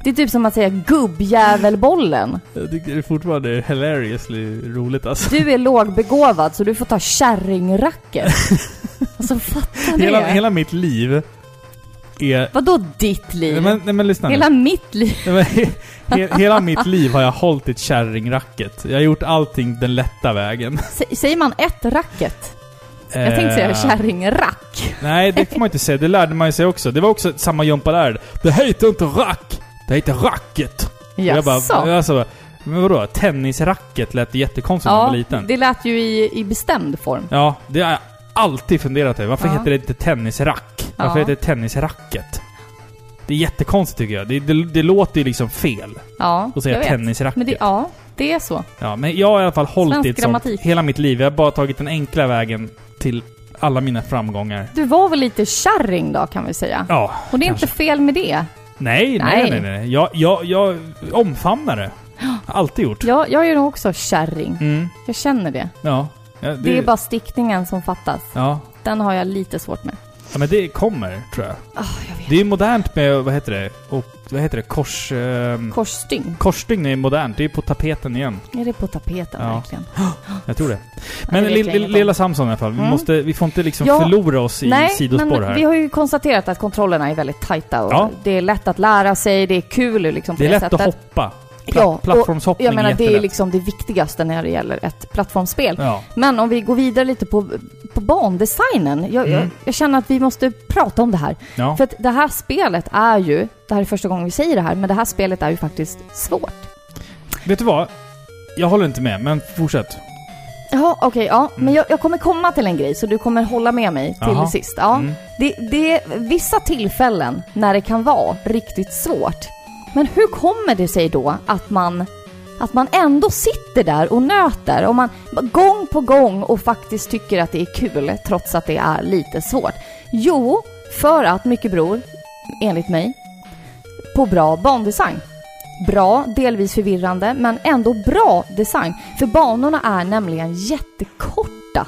Speaker 2: Det är typ som att säga gubbjävelbollen.
Speaker 1: Jag tycker det är fortfarande är hilariously roligt alltså.
Speaker 2: Du är lågbegåvad så du får ta kärringracket. Alltså fattar ni
Speaker 1: Hela,
Speaker 2: det?
Speaker 1: hela mitt liv är...
Speaker 2: Vadå ditt
Speaker 1: Nej
Speaker 2: liv?
Speaker 1: men, nej, men lyssna nu.
Speaker 2: Hela mitt liv?
Speaker 1: Nej, men, he, hela mitt liv har jag hållit i ett kärringracket. Jag har gjort allting den lätta vägen. Eh,
Speaker 2: Sä- Säger man ett racket? Jag tänkte säga kärringrack.
Speaker 1: Nej, det får man inte säga. Det lärde man ju sig också. Det var också samma gympalärare. Det heter inte rack! Det heter racket! Och Jag
Speaker 2: Jaså?
Speaker 1: bara, alltså, men vadå? Tennisracket lät jättekonstigt när man var liten.
Speaker 2: det lät ju i, i bestämd form.
Speaker 1: Ja, det har jag alltid funderat över. Varför
Speaker 2: Ja.
Speaker 1: heter det inte tennisrack? Varför
Speaker 2: Ja.
Speaker 1: heter det tennisracket? Det är jättekonstigt tycker jag. Det, det, det låter ju liksom fel
Speaker 2: Ja,
Speaker 1: att säga
Speaker 2: jag vet.
Speaker 1: tennisracket.
Speaker 2: Men det, ja, det är så.
Speaker 1: Ja, men jag har i alla fall hållit
Speaker 2: Svensk
Speaker 1: i ett sånt
Speaker 2: grammatik.
Speaker 1: hela mitt liv. Jag har bara tagit den enkla vägen till alla mina framgångar.
Speaker 2: Du var väl lite kärring då kan vi säga.
Speaker 1: Ja.
Speaker 2: Och det är inte fel med det.
Speaker 1: Nej, nej,
Speaker 2: Nej.
Speaker 1: nej. nej, Jag, jag, jag omfamnar det. Har Alltid gjort.
Speaker 2: Jag, jag är nog också kärring.
Speaker 1: Mm,
Speaker 2: Jag känner det.
Speaker 1: ja. ja det,
Speaker 2: Det är bara stickningen som fattas.
Speaker 1: Ja.
Speaker 2: Den har jag lite svårt med.
Speaker 1: ja, men det kommer tror jag.
Speaker 2: Ah, jag vet.
Speaker 1: Det är ju modernt med, vad heter det? Och, vad heter det? Kors... ehm,
Speaker 2: Korsstygn.
Speaker 1: Korsstygn är modernt, det är på tapeten igen.
Speaker 2: Är det på tapeten
Speaker 1: Ja.
Speaker 2: verkligen?
Speaker 1: Jag tror det. Men
Speaker 2: det vet
Speaker 1: li-
Speaker 2: jag
Speaker 1: li-
Speaker 2: inget om.
Speaker 1: lilla Samson i alla fall, vi,
Speaker 2: Mm.
Speaker 1: måste, vi får inte liksom
Speaker 2: Ja.
Speaker 1: förlora oss i sidospår här.
Speaker 2: vi har ju konstaterat att kontrollerna är väldigt tajta och
Speaker 1: Ja.
Speaker 2: det är lätt att lära sig, det är kul liksom på
Speaker 1: Det är lätt
Speaker 2: sättet.
Speaker 1: att hoppa. Pla-
Speaker 2: Ja, och
Speaker 1: plattformshoppning
Speaker 2: Jag menar, det är
Speaker 1: jättelätt.
Speaker 2: liksom det viktigaste när det gäller ett plattformsspel.
Speaker 1: Ja.
Speaker 2: Men om vi går vidare lite på, på bandesignen. Jag, jag,
Speaker 1: Mm.
Speaker 2: jag känner att vi måste prata om det här.
Speaker 1: Ja.
Speaker 2: För att det här spelet är ju, det här är första gången vi säger det här, men det här spelet är ju faktiskt svårt.
Speaker 1: Vet du vad? Jag håller inte med, men fortsätt.
Speaker 2: Jaha, okej, ja.
Speaker 1: Mm.
Speaker 2: Men jag, jag kommer komma till en grej, så du kommer hålla med mig till
Speaker 1: Jaha.
Speaker 2: sist. Ja.
Speaker 1: Mm.
Speaker 2: Det, det är vissa tillfällen när det kan vara riktigt svårt. Men hur kommer det sig då att man, att man ändå sitter där och nöter? Om man gång på gång och faktiskt tycker att det är kul trots att det är lite svårt? Jo, för att mycket beror, enligt mig, på bra bandesign. Bra, delvis förvirrande, men ändå bra design. För banorna är nämligen jättekorta.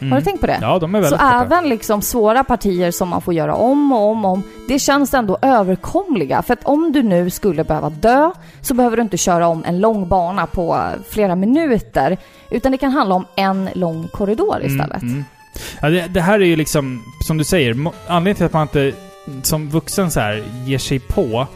Speaker 1: Mm.
Speaker 2: Har du tänkt på det?
Speaker 1: Ja, de är
Speaker 2: Så
Speaker 1: väldigt korta.
Speaker 2: även liksom svåra partier som man får göra om och om och om, det känns ändå överkomliga. För att om du nu skulle behöva dö så behöver du inte köra om en lång bana på eh, flera minuter. Utan det kan handla om en lång korridor istället.
Speaker 1: Mm, mm. Ja, det, det här är ju liksom, som du säger, mo- anledningen till att man inte som vuxen så här ger sig på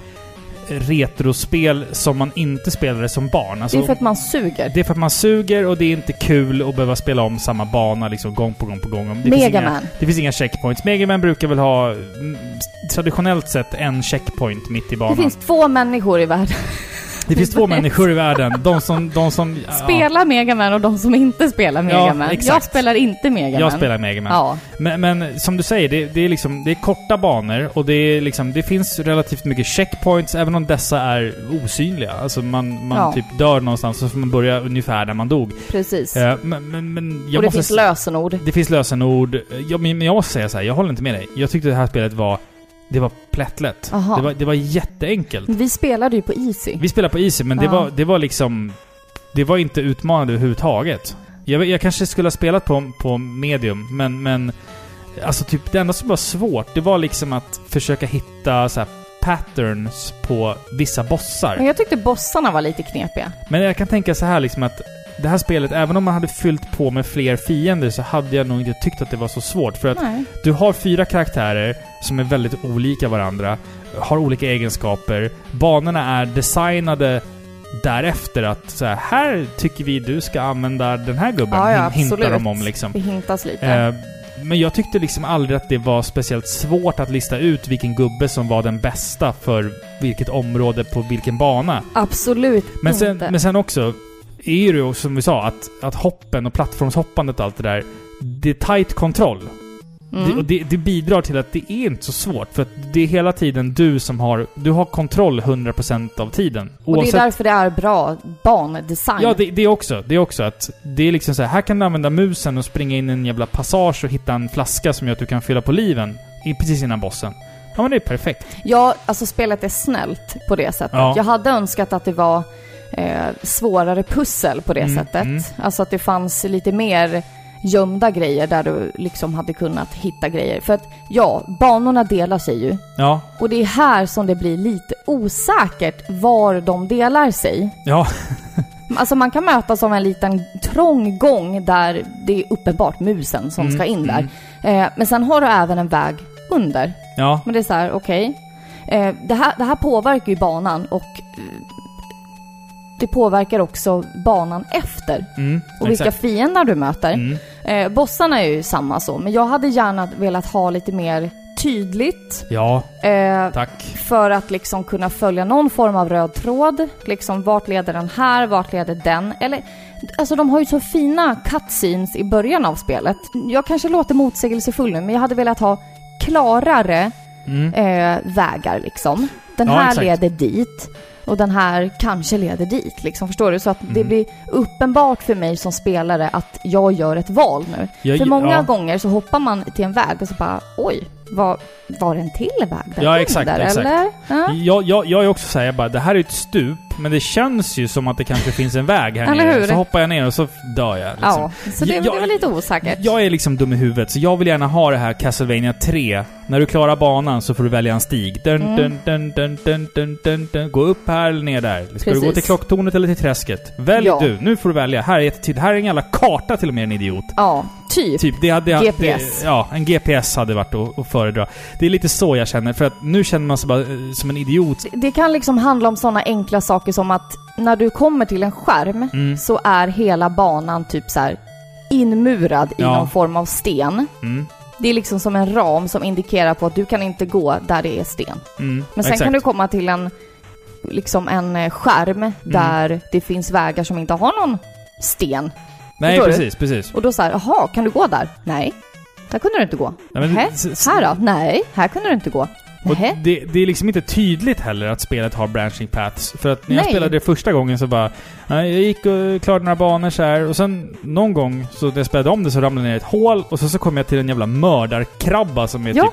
Speaker 1: retrospel som man inte spelade som barn.
Speaker 2: Det
Speaker 1: Alltså,
Speaker 2: är för att man suger.
Speaker 1: Det är för att man suger och det är inte kul att behöva spela om samma bana liksom gång på gång på gång. Det finns
Speaker 2: Mega
Speaker 1: inga,
Speaker 2: Man.
Speaker 1: det finns inga checkpoints. Megaman brukar väl ha mm, s- traditionellt sett en checkpoint mitt i banan.
Speaker 2: Det finns två människor i världen.
Speaker 1: två människor i världen. De som... De som ja,
Speaker 2: Spela Mega Man och de som inte spelar Mega
Speaker 1: Ja,
Speaker 2: Man. Jag
Speaker 1: exakt.
Speaker 2: spelar inte Mega Man.
Speaker 1: jag spelar Megaman.
Speaker 2: Ja.
Speaker 1: Men, men som du säger, det, det, är liksom, det är korta banor och det, är liksom, det finns relativt mycket checkpoints även om dessa är osynliga. Alltså man, man
Speaker 2: Ja.
Speaker 1: typ dör någonstans så får man börja ungefär där man dog.
Speaker 2: Precis.
Speaker 1: Eh, Men, men, men jag
Speaker 2: och det
Speaker 1: måste
Speaker 2: finns
Speaker 1: s-
Speaker 2: lösenord.
Speaker 1: Det finns lösenord. Jag, men men jag måste säga så här, jag håller inte med dig. Jag tyckte det här spelet var... Det var plättlätt.
Speaker 2: Aha.
Speaker 1: Det var, det var jätteenkelt.
Speaker 2: Vi spelade ju på Easy.
Speaker 1: Vi spelade på Easy, men det,
Speaker 2: Ja.
Speaker 1: var, det var liksom... Det var inte utmanande överhuvudtaget. Jag, jag kanske skulle ha spelat på, på medium, men, men... Alltså typ det enda som var svårt, det var liksom att försöka hitta så här patterns på vissa bossar.
Speaker 2: Men jag tyckte bossarna var lite knepiga.
Speaker 1: Men jag kan tänka så här liksom att det här spelet, även om man hade fyllt på med fler fiender så hade jag nog inte tyckt att det var så svårt. För att
Speaker 2: Nej.
Speaker 1: du har fyra karaktärer som är väldigt olika varandra, har olika egenskaper. Banorna är designade därefter att så här, här tycker vi du ska använda den här gubben.
Speaker 2: Ja, ja,
Speaker 1: Hin- Hintar
Speaker 2: absolut.
Speaker 1: de om liksom.
Speaker 2: Det hintas lite.
Speaker 1: Eh, Men jag tyckte liksom aldrig att det var speciellt svårt att lista ut vilken gubbe som var den bästa för vilket område på vilken bana.
Speaker 2: Absolut
Speaker 1: Men sen,
Speaker 2: inte.
Speaker 1: men sen också, är ju det ju som vi sa, att, att hoppen och plattformshoppandet och allt det där, det är tight kontroll.
Speaker 2: Mm.
Speaker 1: Det, och det, det bidrar till att det är inte så svårt, för att det är hela tiden du som har... Du har kontroll 100% av tiden.
Speaker 2: Och det är därför det är bra bandesign.
Speaker 1: Ja, det, det också. Det är också att det är liksom så här, här kan du använda musen och springa in i en jävla passage och hitta en flaska som gör att du kan fylla på liven i, precis innan bossen. Ja men det är perfekt.
Speaker 2: Ja, alltså spelet är snällt på det sättet.
Speaker 1: Ja.
Speaker 2: Jag hade önskat att det var eh, svårare pussel på det
Speaker 1: Mm,
Speaker 2: sättet.
Speaker 1: mm.
Speaker 2: Alltså att det fanns lite mer gömda grejer där du liksom hade kunnat hitta grejer. För att ja, banorna delar sig ju.
Speaker 1: Ja.
Speaker 2: Och det är här som det blir lite osäkert var de delar sig.
Speaker 1: Ja.
Speaker 2: Alltså man kan mötas av en liten trång gång där det är uppenbart musen som
Speaker 1: Mm,
Speaker 2: ska in där. Eh, men sen har du även en väg under.
Speaker 1: Ja.
Speaker 2: Men det är så här, okej. Eh, det, här, det här påverkar ju banan och eh, det påverkar också banan efter.
Speaker 1: Mm,
Speaker 2: Och vilka fiender du möter.
Speaker 1: Mm.
Speaker 2: Eh, bossarna är ju samma så, men jag hade gärna velat ha lite mer tydligt.
Speaker 1: Ja,
Speaker 2: Eh,
Speaker 1: tack.
Speaker 2: för att liksom kunna följa någon form av röd tråd. Liksom vart leder den här, vart leder den? Eller, alltså de har ju så fina cutscenes i början av spelet. Jag kanske låter motsägelsefull nu, men jag hade velat ha klarare
Speaker 1: Mm.
Speaker 2: eh, vägar liksom. Den
Speaker 1: Ja,
Speaker 2: här
Speaker 1: exakt.
Speaker 2: leder dit och den här kanske leder dit liksom, förstår du? Så att det
Speaker 1: Mm.
Speaker 2: blir uppenbart för mig som spelare att jag gör ett val nu.
Speaker 1: Jag,
Speaker 2: För många
Speaker 1: ja.
Speaker 2: gånger så hoppar man till en väg och så bara oj, var, var det en till väg där
Speaker 1: Ja, exakt,
Speaker 2: under,
Speaker 1: exakt.
Speaker 2: eller? Ja.
Speaker 1: Jag, jag, jag är också såhär, jag bara det här är ett stup, men det känns ju som att det kanske finns en väg här
Speaker 2: Eller
Speaker 1: nere.
Speaker 2: hur?
Speaker 1: Så hoppar jag ner och så dör jag. Liksom.
Speaker 2: Ja, så det,
Speaker 1: Jag-
Speaker 2: det var lite osäkert.
Speaker 1: Jag är liksom dum i huvudet, så jag vill gärna ha det här Castlevania 3. När du klarar banan så får du välja en stig. Dun,
Speaker 2: Mm.
Speaker 1: dun, dun, dun, dun, dun, dun, dun. Gå upp här eller ner där. Ska du gå
Speaker 2: Precis.
Speaker 1: till klocktornet eller till träsket? Välj
Speaker 2: Ja.
Speaker 1: du. Nu får du välja. Här är jättetydligt. Här är en jävla karta till och med, en idiot.
Speaker 2: Ja, typ.
Speaker 1: Typ, det hade jag...
Speaker 2: GPS.
Speaker 1: Det, ja, en GPS hade varit att, att föredra. Det är lite så jag känner, för att nu känner man sig bara eh, som en idiot.
Speaker 2: Det- Det kan liksom handla om sådana enkla saker som att när du kommer till en skärm
Speaker 1: Mm,
Speaker 2: så är hela banan typ så här inmurad i
Speaker 1: Ja.
Speaker 2: någon form av sten.
Speaker 1: mm,
Speaker 2: Det är liksom som en ram som indikerar på att du kan inte gå där det är sten.
Speaker 1: mm.
Speaker 2: Men sen kan du komma till en, liksom en eh,
Speaker 1: Mm.
Speaker 2: skärm där det finns vägar som inte har någon sten.
Speaker 1: Nej,
Speaker 2: förstår du?
Speaker 1: precis, precis.
Speaker 2: Och då så här, jaha, kan du gå där? Nej. Där kunde du inte gå.
Speaker 1: Nej, men-
Speaker 2: Nähä.
Speaker 1: s- s-
Speaker 2: Här då? Nej, här kunde du inte gå.
Speaker 1: Och
Speaker 2: Nähä.
Speaker 1: det, det är liksom inte tydligt heller att spelet har branching paths. För att när jag
Speaker 2: Nej.
Speaker 1: spelade det första gången så bara... nej, Jag gick och klarade några banor så här och sen någon gång så när jag spelade om det så ramlade jag ner i ett hål och så, så kom jag till en jävla mördarkrabba som är
Speaker 2: Ja.
Speaker 1: typ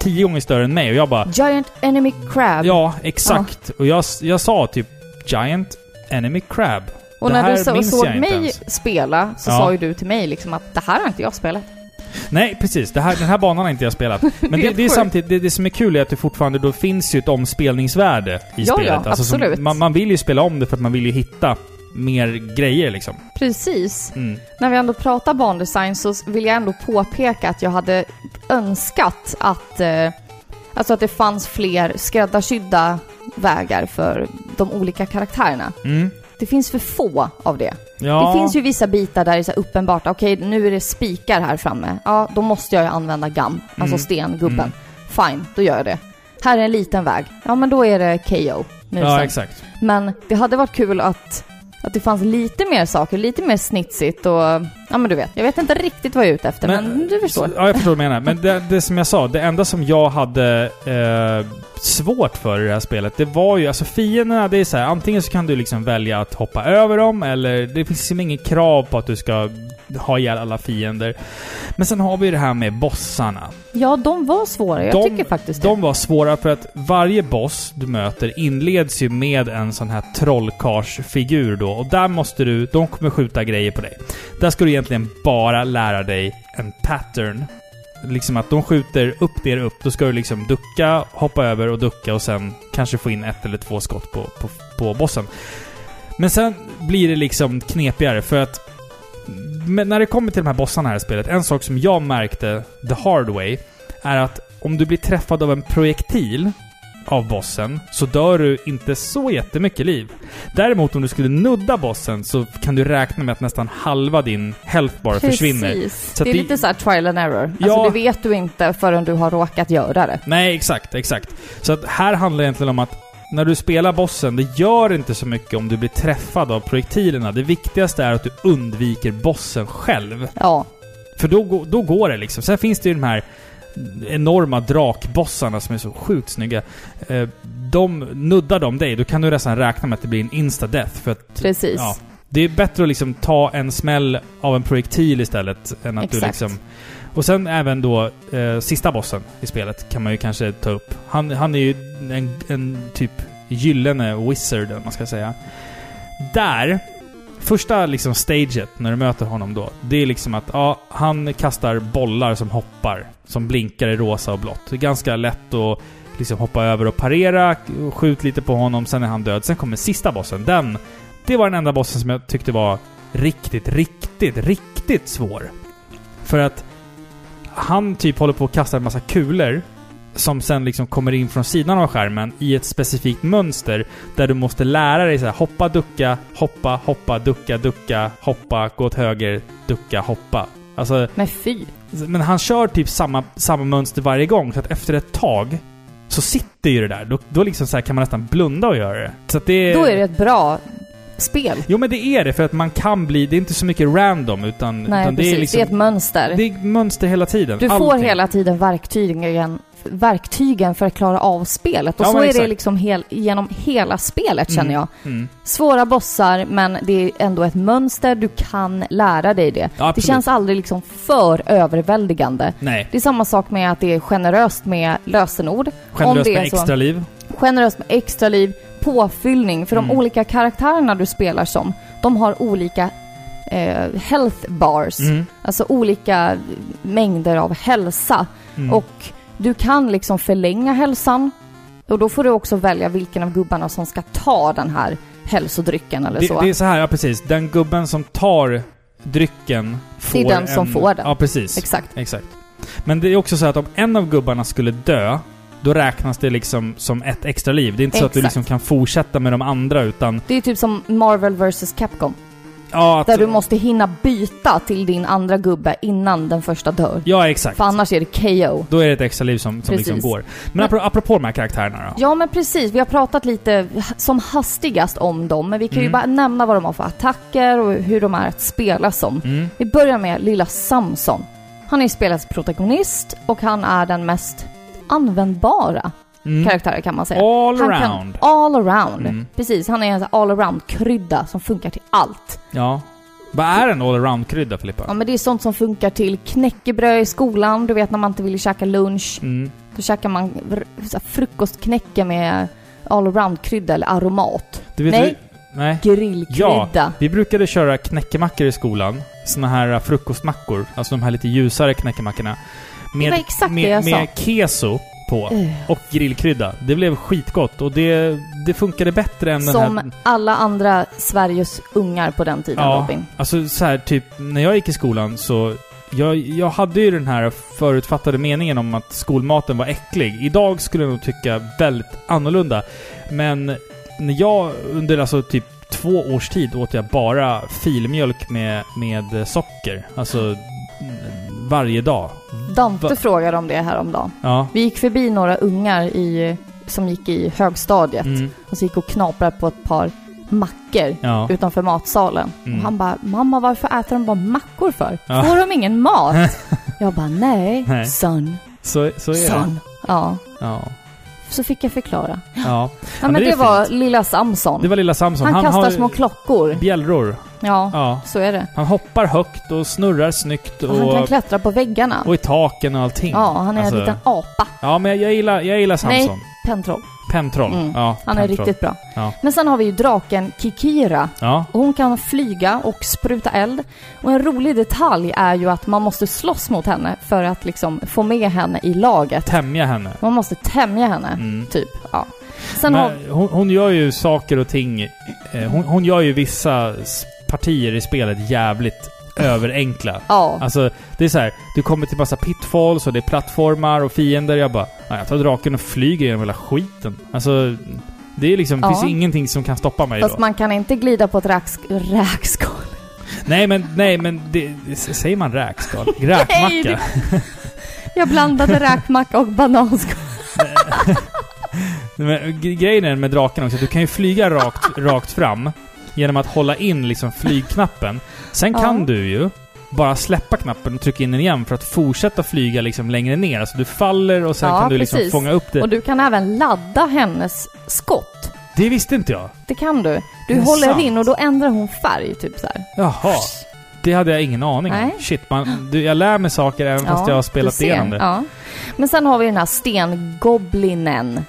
Speaker 1: tio gånger större än mig och jag bara...
Speaker 2: Giant Enemy Crab.
Speaker 1: Ja, exakt. Och jag, jag sa typ Giant Enemy Crab.
Speaker 2: och
Speaker 1: det
Speaker 2: när du
Speaker 1: här
Speaker 2: så,
Speaker 1: minns
Speaker 2: såg
Speaker 1: jag inte
Speaker 2: mig
Speaker 1: ens.
Speaker 2: spela så
Speaker 1: Ja.
Speaker 2: sa ju du till mig liksom att det här har inte jag spelat.
Speaker 1: Nej, precis. Det här, den här banan har inte jag spelat. Men
Speaker 2: Det
Speaker 1: det,
Speaker 2: är
Speaker 1: det, är
Speaker 2: sjukt.
Speaker 1: samtidigt, det, det som är kul är att det fortfarande då finns ju ett omspelningsvärde i
Speaker 2: Ja,
Speaker 1: spelet. Alltså,
Speaker 2: ja,
Speaker 1: som-
Speaker 2: absolut.
Speaker 1: man, man vill ju spela om det för att man vill ju hitta mer grejer liksom.
Speaker 2: Precis.
Speaker 1: Mm.
Speaker 2: När vi ändå pratar bandesign så vill jag ändå påpeka att jag hade önskat att, eh, alltså att det fanns fler skräddarsydda vägar för de olika karaktärerna.
Speaker 1: Mm.
Speaker 2: Det finns för få av det.
Speaker 1: Ja.
Speaker 2: Det finns ju vissa bitar där det är så här uppenbart, okej nu är det spikar här framme, ja då måste jag ju använda gam, alltså
Speaker 1: Mm.
Speaker 2: stengubben.
Speaker 1: Mm.
Speaker 2: Fine, då gör jag det. Här är en liten väg, ja men då är det KO, musen.
Speaker 1: Ja, exakt.
Speaker 2: Men det hade varit kul att, att det fanns lite mer saker, lite mer snitsigt och... Ja men du vet, jag vet inte riktigt vad jag är ute efter men, du förstår.
Speaker 1: Ja, jag förstår vad du menar. Men det, det som jag sa, det enda som jag hade eh, svårt för i det här spelet, det var ju alltså fienderna, det är så här, antingen så kan du liksom välja att hoppa över dem, eller det finns liksom inget krav på att du ska ha ihjäl alla fiender. Men sen har vi ju det här med bossarna.
Speaker 2: Ja, de var svåra. Jag
Speaker 1: De-
Speaker 2: tycker faktiskt det.
Speaker 1: De var svåra för att varje boss du möter inleds ju med en sån här trollkarlsfigur då. Och där måste du... De kommer skjuta grejer på dig. Där ska du egentligen bara lära dig en pattern. Liksom att de skjuter upp, ner, upp. Då ska du liksom ducka, hoppa över och ducka och sen kanske få in ett eller två skott på, på, på bossen. Men sen blir det liksom knepigare för att... Men när det kommer till de här bossarna i det här spelet, en sak som jag märkte the hard way är att om du blir träffad av en projektil av bossen så dör du inte så jättemycket liv. Däremot om du skulle nudda bossen så kan du räkna med att nästan halva din health bara försvinner.
Speaker 2: Precis.
Speaker 1: Så
Speaker 2: det är
Speaker 1: att det-
Speaker 2: lite så här trial and error.
Speaker 1: Ja.
Speaker 2: Alltså det vet du inte förrän du har råkat göra det.
Speaker 1: Nej, exakt, exakt. Så att här handlar det egentligen om att när du spelar bossen, det gör inte så mycket om du blir träffad av projektilerna. Det viktigaste är att du undviker bossen själv.
Speaker 2: Ja,
Speaker 1: För då, gå- då går det liksom. Sen finns det ju de här enorma drakbossarna som är så sjukt snygga. Eh, De nuddar de dig, då kan du nästan räkna med att det blir en insta-death. För att
Speaker 2: precis.
Speaker 1: Ja. det är bättre att liksom ta en smäll av en projektil istället än att du
Speaker 2: Exakt.
Speaker 1: liksom... Och sen även då eh, sista bossen i spelet kan man ju kanske ta upp. Han, han är ju en, en typ gyllene wizard, eller vad man ska säga. Där, första liksom staget när du möter honom då, det är liksom att ja, han kastar bollar som hoppar, som blinkar i rosa och blått. Det är ganska lätt att liksom hoppa över och parera, skjut lite på honom, sen är han död. Sen kommer sista bossen. Den det var den enda bossen som jag tyckte var riktigt, riktigt, riktigt svår. För att han typ håller på att kasta en massa kulor som sen liksom kommer in från sidan av skärmen i ett specifikt mönster där du måste lära dig så här, hoppa, ducka, hoppa, hoppa, ducka, ducka, hoppa, gå åt höger, ducka, hoppa. Alltså,
Speaker 2: Men fy.
Speaker 1: men han kör typ samma, samma mönster varje gång, så att efter ett tag så sitter ju det där. Då, då liksom så här kan man nästan blunda och göra det. Så att det
Speaker 2: Då är det ett bra spel.
Speaker 1: Jo men det är det, för att man kan bli... Det är inte så mycket random, utan,
Speaker 2: Nej,
Speaker 1: utan
Speaker 2: precis.
Speaker 1: det är liksom...
Speaker 2: ett mönster.
Speaker 1: Det är mönster hela tiden.
Speaker 2: Du får
Speaker 1: Allting.
Speaker 2: hela tiden verktygen, verktygen för att klara av spelet. Och
Speaker 1: Ja,
Speaker 2: så
Speaker 1: men
Speaker 2: är det
Speaker 1: exakt.
Speaker 2: liksom hel, genom hela spelet
Speaker 1: Mm.
Speaker 2: känner jag.
Speaker 1: Mm.
Speaker 2: Svåra bossar, men det är ändå ett mönster. Du kan lära dig det.
Speaker 1: Ja,
Speaker 2: Det
Speaker 1: absolut.
Speaker 2: känns aldrig liksom för överväldigande.
Speaker 1: Nej.
Speaker 2: Det är samma sak med att det är generöst med lösenord.
Speaker 1: Generöst
Speaker 2: det är
Speaker 1: med
Speaker 2: så.
Speaker 1: extra liv.
Speaker 2: Generöst med extra liv, påfyllning. För de
Speaker 1: Mm.
Speaker 2: olika karaktärerna du spelar som, de har olika eh, health bars.
Speaker 1: Mm.
Speaker 2: Alltså olika mängder av hälsa.
Speaker 1: Mm.
Speaker 2: Och du kan liksom förlänga hälsan. Och då får du också välja vilken av gubbarna som ska ta den här hälsodrycken eller
Speaker 1: det,
Speaker 2: så.
Speaker 1: det är så här, ja precis. Den gubben som tar drycken får
Speaker 2: Det är den som
Speaker 1: en,
Speaker 2: får den.
Speaker 1: Ja, precis.
Speaker 2: Exakt.
Speaker 1: Exakt. Men det är också så att om en av gubbarna skulle dö, då räknas det liksom som ett extra liv. Det är inte så att du
Speaker 2: Exakt.
Speaker 1: liksom kan fortsätta med de andra, utan...
Speaker 2: Det är typ som Marvel vs Capcom.
Speaker 1: Ja, att,
Speaker 2: Där du måste hinna byta till din andra gubbe innan den första dör.
Speaker 1: ja exakt.
Speaker 2: För annars är det KO.
Speaker 1: Då är det ett extra liv som, som liksom
Speaker 2: Precis.
Speaker 1: går. Men apro- apropå de här karaktärerna då.
Speaker 2: Ja men precis, vi har pratat lite som hastigast om dem. Men vi kan ju
Speaker 1: Mm.
Speaker 2: bara nämna vad de har för attacker och hur de är att spela som.
Speaker 1: Mm.
Speaker 2: Vi börjar med lilla Samson. Han är spelets protagonist och han är den mest användbara
Speaker 1: Mm.
Speaker 2: karaktären kan man säga.
Speaker 1: All
Speaker 2: han
Speaker 1: around.
Speaker 2: Kan all around.
Speaker 1: Mm.
Speaker 2: Precis, han är en all around-krydda som funkar till allt.
Speaker 1: Ja. Vad är en allround-krydda, Filippa?
Speaker 2: Ja men det är sånt som funkar till knäckebröd i skolan, du vet när man inte vill käka lunch.
Speaker 1: Mm.
Speaker 2: Då käkar man r- så här frukostknäcke med all around-krydda eller aromat.
Speaker 1: Du vet,
Speaker 2: Nej.
Speaker 1: Vi, nej.
Speaker 2: Grillkrydda.
Speaker 1: Vi brukade köra knäckemackor i skolan. Såna här äh, frukostmackor. Alltså de här lite ljusare knäckemackorna.
Speaker 2: Det var exakt
Speaker 1: med,
Speaker 2: det jag Eh.
Speaker 1: med keso på.
Speaker 2: Ugh.
Speaker 1: Och grillkrydda. Det blev skitgott och det, det funkade bättre än den
Speaker 2: Som
Speaker 1: här...
Speaker 2: alla andra Sveriges ungar på den tiden
Speaker 1: Ja.
Speaker 2: Robin.
Speaker 1: Alltså så här, typ när jag gick i skolan så... Jag, jag hade ju den här förutfattade meningen om att skolmaten var äcklig. Idag skulle jag nog tycka väldigt annorlunda. Men när jag under alltså typ två års tid åt jag bara filmjölk med, med socker. Alltså mm, varje dag.
Speaker 2: Dante
Speaker 1: Va-
Speaker 2: frågade om det häromdagen.
Speaker 1: Ja.
Speaker 2: Vi gick förbi några ungar i, som gick i högstadiet
Speaker 1: Mm,
Speaker 2: och så gick och knaprade på ett par mackor
Speaker 1: ja.
Speaker 2: utanför matsalen.
Speaker 1: Mm.
Speaker 2: Och han bara, mamma varför äter de bara mackor för?
Speaker 1: Ja.
Speaker 2: Får de ingen mat? Jag bara, nej,
Speaker 1: Nej.
Speaker 2: son,
Speaker 1: Så, så är det.
Speaker 2: son. Ja,
Speaker 1: Ja.
Speaker 2: så fick jag förklara. Ja,
Speaker 1: ja.
Speaker 2: men,
Speaker 1: men det
Speaker 2: det,
Speaker 1: är
Speaker 2: var lilla Samson.
Speaker 1: Det var lilla Samson.
Speaker 2: han, kastar
Speaker 1: har
Speaker 2: små klockor.
Speaker 1: bjällror.
Speaker 2: Ja,
Speaker 1: Ja.
Speaker 2: så är det.
Speaker 1: Han hoppar högt och snurrar snyggt
Speaker 2: Och han kan
Speaker 1: och,
Speaker 2: klättra på väggarna.
Speaker 1: och i taken och allting.
Speaker 2: Ja, han är
Speaker 1: Alltså-
Speaker 2: en liten apa.
Speaker 1: Ja, men jag gillar, jag gillar
Speaker 2: Nej.
Speaker 1: Samson.
Speaker 2: Pentroll.
Speaker 1: Pentroll.
Speaker 2: Mm.
Speaker 1: Ja,
Speaker 2: Han är
Speaker 1: pentroll.
Speaker 2: riktigt bra.
Speaker 1: Ja.
Speaker 2: Men sen har vi ju draken Kikira.
Speaker 1: Ja.
Speaker 2: Och Hon kan flyga och spruta eld. Och en rolig detalj är ju att man måste slåss mot henne för att liksom få med henne i laget.
Speaker 1: Tämja henne.
Speaker 2: Man måste tämja henne,
Speaker 1: Mm.
Speaker 2: typ. Ja. Sen har...
Speaker 1: Men hon, hon gör ju saker och ting... eh, Hon, hon gör ju vissa s- partier i spelet jävligt överenkla.
Speaker 2: Ja.
Speaker 1: Alltså, det är så här, du kommer till massa pitfalls och det är plattformar och fiender. Jag bara, "Nej, jag tar draken och flyger genom hela skiten. Alltså, det är liksom,
Speaker 2: Ja.
Speaker 1: finns ingenting som kan stoppa mig
Speaker 2: Fast
Speaker 1: då.
Speaker 2: man kan inte glida på ett räks- räkskal.
Speaker 1: Nej men, nej men, det, det, säger man räkskal?
Speaker 2: Nej, det-
Speaker 1: Räkmacka?
Speaker 2: Jag blandade räkmacka och bananskal.
Speaker 1: Men g- Grejen är med draken också att du kan ju flyga rakt, rakt fram genom att hålla in liksom flygknappen. Sen
Speaker 2: Ja.
Speaker 1: kan du ju bara släppa knappen och trycka in den igen för att fortsätta flyga liksom längre ner. Alltså du faller och sen
Speaker 2: Ja,
Speaker 1: kan du liksom
Speaker 2: precis.
Speaker 1: fånga upp det.
Speaker 2: Och du kan även ladda hennes skott.
Speaker 1: Det visste inte jag.
Speaker 2: Det kan du. Du
Speaker 1: Det är
Speaker 2: håller
Speaker 1: sant.
Speaker 2: in och då ändrar hon färg typ så här.
Speaker 1: Jaha. Det hade jag ingen aning om.
Speaker 2: Nej.
Speaker 1: Shit, man, du, jag lär mig saker även fast jag har spelat
Speaker 2: du ser.
Speaker 1: igenom det. Ja.
Speaker 2: Ja. Men sen har vi den här stengoblinen.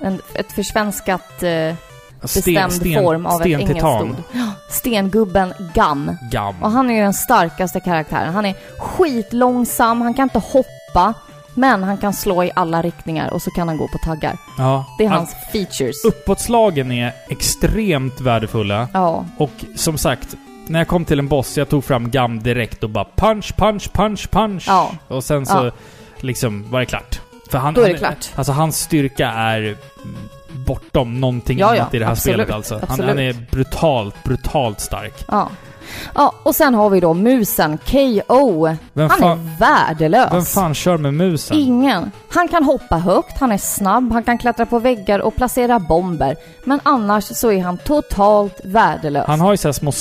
Speaker 2: En, ett försvenskat eh,
Speaker 1: Sten,
Speaker 2: bestämd
Speaker 1: sten,
Speaker 2: form av ett engelskt
Speaker 1: stentitan.
Speaker 2: ord. Ja, Stengubben Gam.
Speaker 1: Gam.
Speaker 2: Och han är ju den starkaste karaktären. Han är skitlångsam, han kan inte hoppa. Men han kan slå i alla riktningar och så kan han gå på taggar.
Speaker 1: Ja.
Speaker 2: Det är
Speaker 1: Alltså,
Speaker 2: hans features.
Speaker 1: Uppåtslagen är extremt värdefulla.
Speaker 2: Ja,
Speaker 1: Och som sagt, när jag kom till en boss, jag tog fram GAM direkt och bara punch, punch, punch, punch.
Speaker 2: ja.
Speaker 1: Och sen så
Speaker 2: Ja.
Speaker 1: liksom var det klart. För han,
Speaker 2: Då är det
Speaker 1: han-
Speaker 2: klart.
Speaker 1: Alltså hans styrka är mm, bortom någonting
Speaker 2: Ja, ja,
Speaker 1: annat i det här
Speaker 2: absolut,
Speaker 1: spelet alltså. Han,
Speaker 2: absolut.
Speaker 1: han är brutalt, brutalt stark.
Speaker 2: Ja. Ja, och sen har vi då musen, KO.
Speaker 1: Vem,
Speaker 2: Han
Speaker 1: fan,
Speaker 2: är värdelös.
Speaker 1: vem fan kör med musen?
Speaker 2: Ingen. Han kan hoppa högt, han är snabb, han kan klättra på väggar och placera bomber. Men annars så är han totalt värdelös.
Speaker 1: Han har ju så här små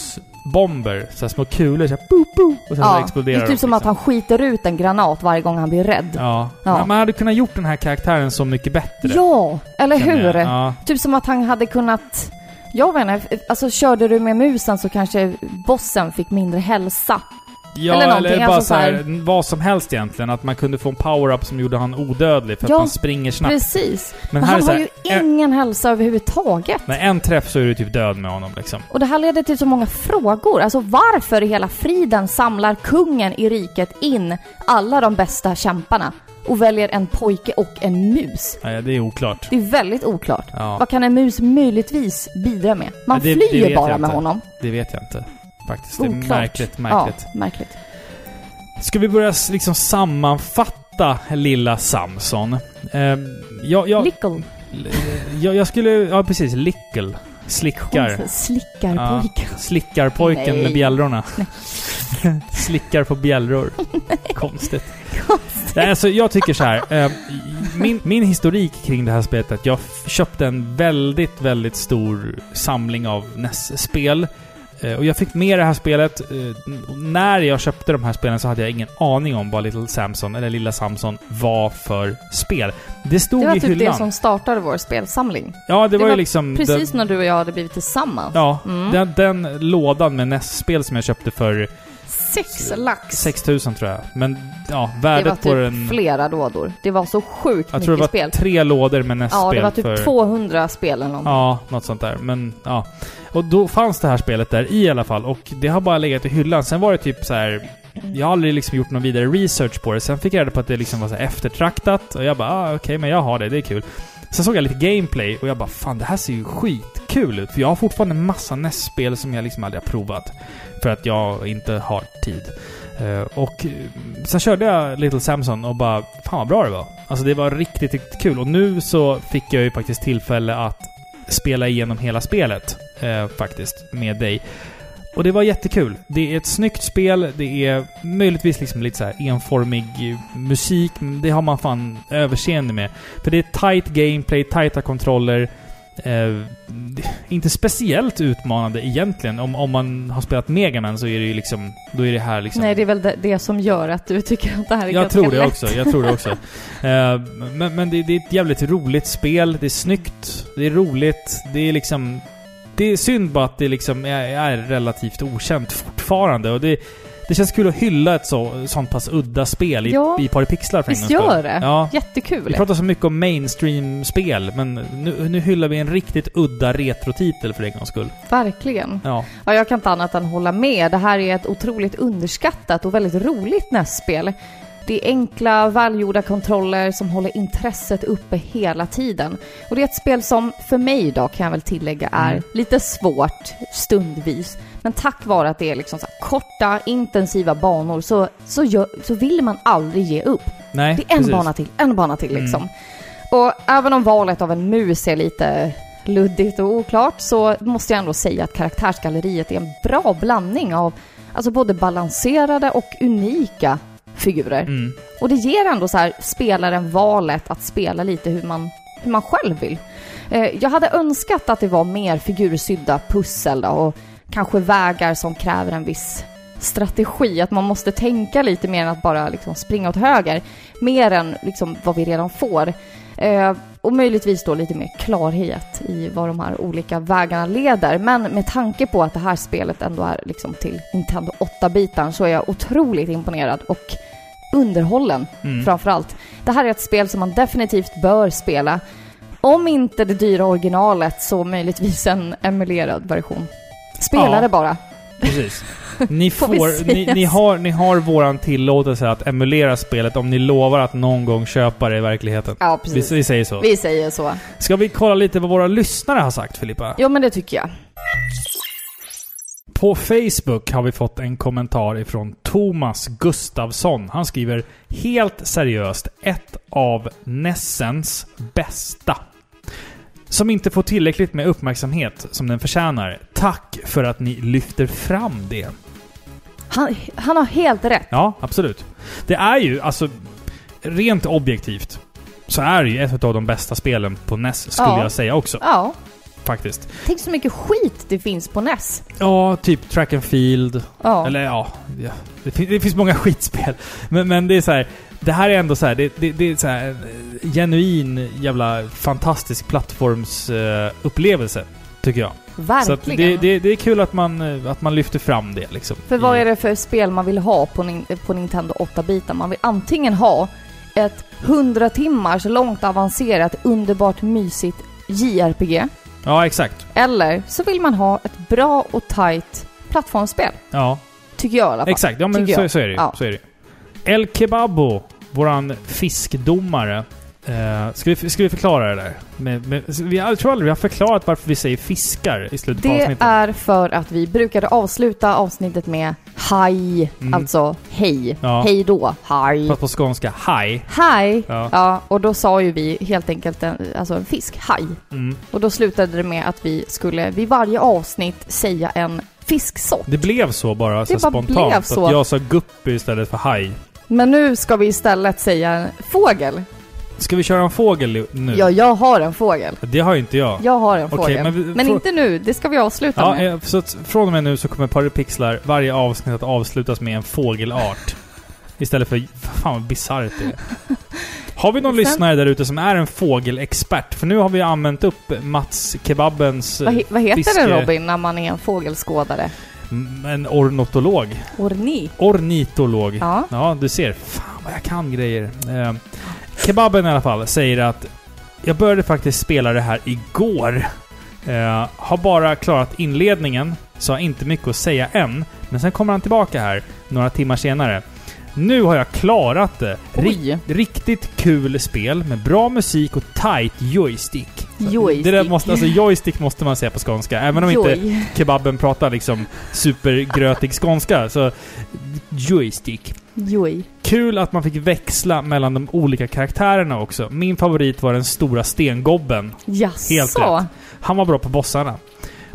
Speaker 1: Samus-bomber, så här små kulor, så här, boop, boop, och sen så
Speaker 2: det
Speaker 1: exploderar
Speaker 2: är typ som
Speaker 1: de, liksom.
Speaker 2: att han skiter ut en granat varje gång han blir rädd.
Speaker 1: Ja.
Speaker 2: Ja.
Speaker 1: Men Man hade kunnat gjort den här karaktären så mycket bättre.
Speaker 2: Ja, eller
Speaker 1: känner jag.
Speaker 2: hur?
Speaker 1: Ja.
Speaker 2: Typ som att han hade kunnat... Jag vet inte, alltså körde du med musen så kanske bossen fick mindre hälsa.
Speaker 1: Ja,
Speaker 2: Eller
Speaker 1: eller,
Speaker 2: någonting,
Speaker 1: bara
Speaker 2: alltså
Speaker 1: så här,
Speaker 2: så
Speaker 1: vad som helst egentligen. Att man kunde få en power-up som gjorde han odödlig för
Speaker 2: Ja,
Speaker 1: att man springer snabbt.
Speaker 2: Precis.
Speaker 1: Men
Speaker 2: Men
Speaker 1: här är
Speaker 2: han
Speaker 1: så
Speaker 2: har
Speaker 1: här, eh,
Speaker 2: ju ingen hälsa överhuvudtaget.
Speaker 1: när en träff så är du typ död med honom liksom.
Speaker 2: Och det här leder till så många frågor. Alltså varför i hela friden samlar kungen i riket in alla de bästa kämparna och väljer en pojke och en mus?
Speaker 1: Nej, det är oklart.
Speaker 2: Det är väldigt oklart.
Speaker 1: Ja,
Speaker 2: Vad kan en mus möjligtvis bidra med? Man
Speaker 1: Ja, det- det
Speaker 2: flyr
Speaker 1: vet
Speaker 2: bara
Speaker 1: jag
Speaker 2: med
Speaker 1: inte.
Speaker 2: honom.
Speaker 1: det vet jag inte. Faktiskt. Det är
Speaker 2: Oklart.
Speaker 1: märkligt, märkligt.
Speaker 2: Ja, märkligt.
Speaker 1: Ska vi börja s- liksom sammanfatta lilla Samson? Ehm, jag, jag,
Speaker 2: Lickle.
Speaker 1: jag, jag skulle... Ja, precis. Lickel. Slickar.
Speaker 2: Konstigt. Slickarpojkar.
Speaker 1: Slickar pojken
Speaker 2: Nej.
Speaker 1: med bjällrorna. Slickar på bjällror. Konstigt. Nej, alltså, jag tycker så här. eh, Min, min historik kring det här spelet är att jag f- köpte en väldigt, väldigt stor samling av NES-spel. Eh, Och jag fick med det här spelet. eh, n- och När jag köpte de här spelen så hade jag ingen aning om vad Little Samson, eller Lilla Samson, var för spel. Det stod
Speaker 2: Det var
Speaker 1: i
Speaker 2: typ
Speaker 1: hyllan.
Speaker 2: det som startade vår spelsamling.
Speaker 1: ja, det, var ju
Speaker 2: var
Speaker 1: liksom...
Speaker 2: Precis
Speaker 1: den-
Speaker 2: när du och jag hade blivit tillsammans.
Speaker 1: Ja,
Speaker 2: Mm.
Speaker 1: den, den lådan med NES-spel som jag köpte för
Speaker 2: Sex lax.
Speaker 1: 6000 tror jag. Men ja,
Speaker 2: det var
Speaker 1: värdet
Speaker 2: typ
Speaker 1: på den...
Speaker 2: flera lådor. Det var så sjukt
Speaker 1: Jag
Speaker 2: mycket
Speaker 1: tror det var
Speaker 2: spel.
Speaker 1: tre lådor med NES-spel
Speaker 2: Ja, det var typ
Speaker 1: för...
Speaker 2: 200 spel eller någonting.
Speaker 1: Ja, något sånt där. Men ja. Och då fanns det här spelet där i alla fall och det har bara legat i hyllan. Sen var det typ så här. Jag har aldrig liksom gjort någon vidare research på det. Sen fick jag reda på att det liksom var så här eftertraktat och jag bara ah, okej, men jag har det, det är kul. Sen såg jag lite gameplay och jag bara fan det här ser ju skitkul ut. För jag har fortfarande en massa NES-spel som jag liksom aldrig har provat. För att jag inte har tid. Eh, och eh, sen körde jag Little Samson och bara fan vad bra det var. Alltså det var riktigt, riktigt kul. Och nu så fick jag ju faktiskt tillfälle att spela igenom hela spelet eh, faktiskt med dig. Och det var jättekul. Det är ett snyggt spel, det är möjligtvis liksom lite så här enformig eh, musik, men det har man fan överseende med. För det är tight gameplay, tighta kontroller. Eh, det- inte speciellt utmanande egentligen. Om, om man har spelat Mega Man så är det ju liksom... Då är det här liksom...
Speaker 2: Nej, det är väl det, det som gör att du tycker att det här är
Speaker 1: Jag
Speaker 2: ganska
Speaker 1: tror det
Speaker 2: lätt.
Speaker 1: också, jag tror det också. Eh, men men det, det är ett jävligt roligt spel, det är snyggt, det är roligt, det är liksom... Det är synd bara att det liksom är, är relativt okänt fortfarande och det... Det känns kul att hylla ett så, sånt pass udda spel i,
Speaker 2: Ja.
Speaker 1: i ett par pixlar för en
Speaker 2: Visst
Speaker 1: gångs skull.
Speaker 2: gör det?
Speaker 1: Ja. Vi
Speaker 2: Jättekul.
Speaker 1: pratar så mycket om mainstream-spel, men nu, nu hyllar vi en riktigt udda retrotitel för en gångs skull.
Speaker 2: Verkligen.
Speaker 1: Ja.
Speaker 2: Ja, jag kan inte annat än hålla med. Det här är ett otroligt underskattat och väldigt roligt nästspel. Det är enkla, välgjorda kontroller som håller intresset uppe hela tiden. Och det är ett spel som för mig då, kan jag väl tillägga, är
Speaker 1: Mm.
Speaker 2: lite svårt stundvis. Men tack vare att det är liksom så här korta, intensiva banor så, så, gör, så vill man aldrig ge upp.
Speaker 1: Nej,
Speaker 2: Det är en bana till, en bana till liksom. Och även om valet av en mus är lite luddigt och oklart så måste jag ändå säga att karaktärsgalleriet är en bra blandning av alltså både balanserade och unika figurer.
Speaker 1: Mm.
Speaker 2: Och det ger ändå så här spelaren valet att spela lite hur man, hur man själv vill. Eh, jag hade önskat att det var mer figursydda pussel då, och kanske vägar som kräver en viss strategi, att man måste tänka lite mer än att bara liksom springa åt höger, mer än liksom vad vi redan får. Eh, och möjligtvis då lite mer klarhet i vad de här olika vägarna leder. Men med tanke på att det här spelet ändå är liksom till Nintendo 8-bitar så är jag otroligt imponerad och underhållen
Speaker 1: Mm.
Speaker 2: framförallt. Det här är ett spel som man definitivt bör spela. Om inte det dyra originalet så möjligtvis en emulerad version. Spela
Speaker 1: Ja.
Speaker 2: det bara.
Speaker 1: Precis. Ni,
Speaker 2: Får vi
Speaker 1: får,
Speaker 2: säga
Speaker 1: ni, ni,
Speaker 2: så?
Speaker 1: har, ni har våran tillåtelse att emulera spelet om ni lovar att någon gång köpa det i verkligheten.
Speaker 2: Ja,
Speaker 1: Vi,
Speaker 2: precis.
Speaker 1: vi säger så.
Speaker 2: Vi säger så.
Speaker 1: Ska vi kolla lite vad våra lyssnare har sagt, Filippa?
Speaker 2: Jo, men det tycker jag.
Speaker 1: På Facebook har vi fått en kommentar ifrån Thomas Gustafsson. Han skriver helt seriöst ett av Nessens bästa. Som inte får tillräckligt med uppmärksamhet som den förtjänar. Tack för att ni lyfter fram det.
Speaker 2: Han, han har helt rätt.
Speaker 1: Ja, absolut. Det är ju, alltså, rent objektivt så är det ju ett av de bästa spelen på NES skulle
Speaker 2: Ja.
Speaker 1: jag säga också,
Speaker 2: Ja.
Speaker 1: faktiskt.
Speaker 2: Tänk så mycket skit det finns på NES.
Speaker 1: Ja, typ Track and Field.
Speaker 2: Ja.
Speaker 1: Eller ja, ja. Det, fin- det finns många skitspel. Men, men det är så här. Det här är ändå så här, det, det, det är så här en genuin jävla fantastisk plattformsupplevelse, tycker jag. Så att
Speaker 2: Verkligen.
Speaker 1: det, det, det är kul att man, eh, att man lyfter fram det liksom.
Speaker 2: För vad är det för spel man vill ha på, nin- på Nintendo 8-bitar? Man vill antingen ha ett 100 timmars långt avancerat, underbart mysigt JRPG.
Speaker 1: Ja, exakt.
Speaker 2: Eller så vill man ha ett bra och tight plattformsspel.
Speaker 1: Ja.
Speaker 2: Tycker jag i alla fall.
Speaker 1: Exakt, ja men
Speaker 2: tycker
Speaker 1: så,
Speaker 2: jag.
Speaker 1: så är det ju.
Speaker 2: Ja.
Speaker 1: Så är det. ju. El Kebabo, våran fiskdomare. Eh, ska, vi, ska vi förklara det där? Med, med, vi, jag tror aldrig vi har förklarat varför vi säger fiskar i slutet på
Speaker 2: Det
Speaker 1: avsnittet.
Speaker 2: är för att vi brukade avsluta avsnittet med haj,
Speaker 1: Mm.
Speaker 2: alltså hej.
Speaker 1: Ja.
Speaker 2: Hej då, haj.
Speaker 1: Fast på skånska, haj.
Speaker 2: Haj.
Speaker 1: Ja.
Speaker 2: Ja, och då sa ju vi helt enkelt en, alltså en fisk, haj.
Speaker 1: Mm.
Speaker 2: Och då slutade det med att vi skulle vid varje avsnitt säga en fisksort.
Speaker 1: Det blev så bara, så
Speaker 2: Det bara
Speaker 1: spontant.
Speaker 2: blev så.
Speaker 1: Att jag sa guppy istället för haj.
Speaker 2: Men nu ska vi istället säga en fågel.
Speaker 1: Ska vi köra en fågel nu?
Speaker 2: Ja, jag har en fågel.
Speaker 1: Det har ju inte jag.
Speaker 2: Jag har en
Speaker 1: Okej,
Speaker 2: fågel.
Speaker 1: men
Speaker 2: Men,
Speaker 1: vi- frå-
Speaker 2: inte nu, det ska vi avsluta
Speaker 1: Ja,
Speaker 2: med.
Speaker 1: eh, så att från och med nu så kommer Paripixlar varje avsnitt att avslutas med en fågelart. Istället för... Fan vad bisarrt det är. Har vi någon
Speaker 2: Sen-
Speaker 1: lyssnare där ute som är en fågelexpert? För nu har vi använt upp Mats Kebabens... eh,
Speaker 2: Vad, he- vad heter
Speaker 1: Typ fiske-
Speaker 2: det Robin när man är en fågelskådare?
Speaker 1: m- En ornitolog.
Speaker 2: Orni.
Speaker 1: Ornitolog.
Speaker 2: Ja.
Speaker 1: Ja, du ser. Fan vad jag kan grejer. Eh, kebaben i alla fall säger att jag började faktiskt spela det här igår. Eh, har bara klarat inledningen, så har inte mycket att säga än. Men sen kommer han tillbaka här, några timmar senare. Nu har jag klarat det. Ri-
Speaker 2: Oj.
Speaker 1: riktigt kul spel med bra musik och tight joystick. Så
Speaker 2: Joystick.
Speaker 1: Det där måste, alltså joystick måste man säga på skånska, även om inte
Speaker 2: Joj.
Speaker 1: kebaben pratar liksom supergrötig skånska. Så joystick.
Speaker 2: Joj.
Speaker 1: Kul att man fick växla mellan de olika karaktärerna också. Min favorit var den stora stengobben.
Speaker 2: Jaså?
Speaker 1: Helt rätt. Han var bra på bossarna.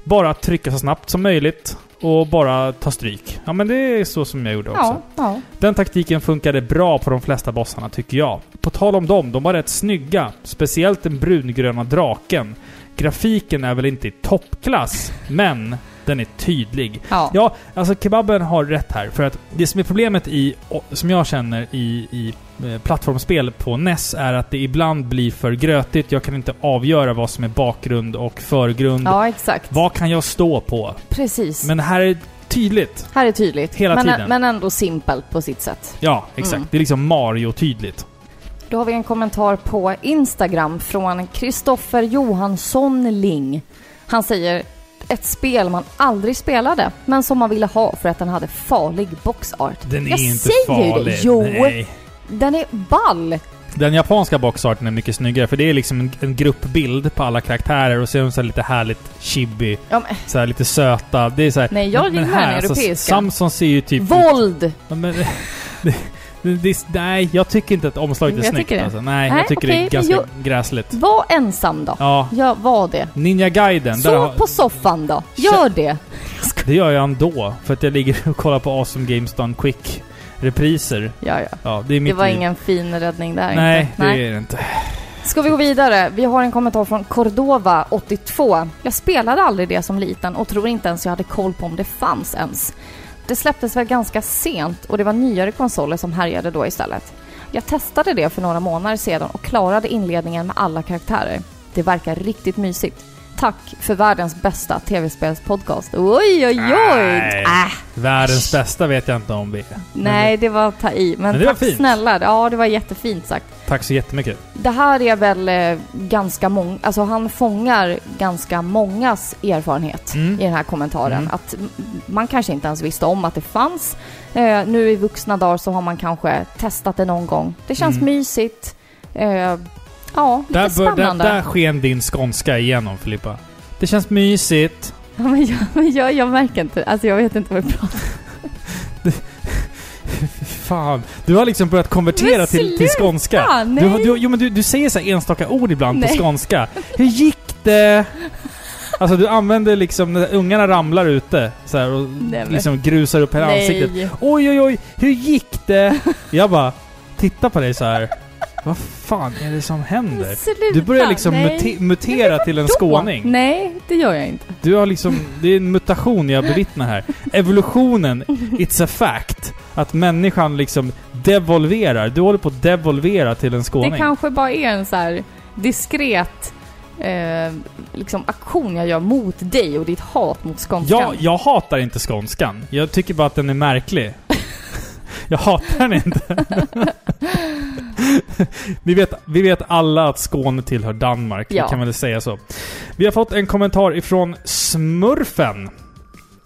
Speaker 1: Bara att trycka så snabbt som möjligt och bara ta stryk. Ja, men det är så som jag gjorde också.
Speaker 2: Ja, ja.
Speaker 1: Den taktiken funkade bra på de flesta bossarna tycker jag. På tal om dem, de var rätt snygga. Speciellt den brungröna draken. Grafiken är väl inte i toppklass, men den är tydlig.
Speaker 2: ja.
Speaker 1: Ja, alltså kebaben har rätt här. För att det som är problemet i, och- som jag känner i, i eh, plattformsspel på NES är att det ibland blir för grötigt. Jag kan inte avgöra vad som är bakgrund och förgrund.
Speaker 2: Ja, exakt.
Speaker 1: Vad kan jag stå på?
Speaker 2: Precis.
Speaker 1: Men det här är tydligt.
Speaker 2: här är tydligt.
Speaker 1: Hela
Speaker 2: men,
Speaker 1: tiden.
Speaker 2: men ändå simpelt på sitt sätt.
Speaker 1: Ja, exakt.
Speaker 2: Mm.
Speaker 1: Det är liksom Mario-tydligt.
Speaker 2: Då har vi en kommentar på Instagram från Kristoffer Johansson Ling. Han säger ett spel man aldrig spelade, men som man ville ha för att den hade farlig boxart.
Speaker 1: Den
Speaker 2: Jag
Speaker 1: är inte
Speaker 2: säger det.
Speaker 1: farlig.
Speaker 2: Jo.
Speaker 1: Nej.
Speaker 2: Den är ball!
Speaker 1: Den japanska boxarten är mycket snyggare, för det är liksom en, en gruppbild på alla karaktärer och sen så här lite härligt chibi.
Speaker 2: Ja, men,
Speaker 1: Så här lite söta. Det är så här, alltså,
Speaker 2: nej, jag gillar den europeiska.
Speaker 1: Samson ser ju typ...
Speaker 2: Våld!
Speaker 1: Ja, men, det, det, det, nej, jag tycker inte att omslaget är
Speaker 2: Jag
Speaker 1: snyggt
Speaker 2: tycker det.
Speaker 1: alltså. Nej,
Speaker 2: Nej,
Speaker 1: jag tycker
Speaker 2: okej,
Speaker 1: det är
Speaker 2: men
Speaker 1: ganska
Speaker 2: jag-
Speaker 1: gräsligt.
Speaker 2: Var ensam då.
Speaker 1: Ja.
Speaker 2: Ja, var det.
Speaker 1: Ninja Gaiden, där
Speaker 2: Sov
Speaker 1: har,
Speaker 2: på soffan då. Gör det.
Speaker 1: det gör jag ändå. För att jag ligger och kollar på Awesome Games Done Quick repriser.
Speaker 2: Ja, ja.
Speaker 1: Ja, det är mitt
Speaker 2: Det var
Speaker 1: liv.
Speaker 2: ingen fin räddning där
Speaker 1: Nej,
Speaker 2: inte.
Speaker 1: det är det inte.
Speaker 2: Ska vi gå vidare? Vi har en kommentar från Cordova, 82. Jag spelade aldrig det som liten och tror inte ens jag hade koll på om det fanns ens. Det släpptes väl ganska sent och det var nyare konsoler som härjade då istället. Jag testade det för några månader sedan och klarade inledningen med alla karaktärer. Det verkar riktigt mysigt. Tack för världens bästa tv-spelspodcast. Oj, oj, oj!
Speaker 1: Nej.
Speaker 2: Äh,
Speaker 1: Världens bästa vet jag inte om det är. Men
Speaker 2: nej, det var att ta i. Men,
Speaker 1: Men det var
Speaker 2: tack
Speaker 1: fint.
Speaker 2: snälla. Ja, det var jättefint sagt.
Speaker 1: Tack så jättemycket.
Speaker 2: Det här är väl eh, ganska många, alltså han fångar ganska mångas erfarenhet
Speaker 1: Mm.
Speaker 2: i den här kommentaren.
Speaker 1: Mm.
Speaker 2: Att m- man kanske inte ens visste om att det fanns. Eh, nu i vuxna dagar så har man kanske testat det någon gång. Det känns
Speaker 1: Mm.
Speaker 2: mysigt. Eh, ja, lite
Speaker 1: Där, bör, där,
Speaker 2: spännande.
Speaker 1: där sken din skånska igenom Filippa. Det känns mysigt.
Speaker 2: Ja, men jag, men jag, jag märker inte, alltså jag vet inte vad jag pratar om.
Speaker 1: Fan. Du har liksom börjat konvertera
Speaker 2: Men
Speaker 1: till, till skånska.
Speaker 2: nej.
Speaker 1: Du, har- du, jo, men du, du säger så här enstaka ord ibland
Speaker 2: Nej.
Speaker 1: på skånska. Hur gick det? Alltså du använder liksom när ungarna ramlar ute så här, och
Speaker 2: Nej, men-
Speaker 1: liksom grusar upp hela ansiktet.
Speaker 2: Nej.
Speaker 1: Oj, oj, oj, hur gick det? Jag bara tittar på dig så här. Vad fan är det som händer?
Speaker 2: Sluta,
Speaker 1: Du börjar liksom
Speaker 2: nej.
Speaker 1: mute- mutera till en skåning.
Speaker 2: Nej, det gör jag inte.
Speaker 1: Du har liksom, det är en mutation jag bevittnar här. Evolutionen, it's a fact. Att människan liksom devolverar. Du håller på att devolvera till en skåning.
Speaker 2: Det kanske bara är en så här diskret eh, liksom aktion jag gör mot dig och ditt hat mot skånskan.
Speaker 1: jag, jag hatar inte skånskan. Jag tycker bara att den är märklig. jag hatar den inte. vi, vet, vi vet alla att Skåne tillhör Danmark.
Speaker 2: Ja.
Speaker 1: Vi kan väl säga så. Vi har fått en kommentar ifrån Smurfen.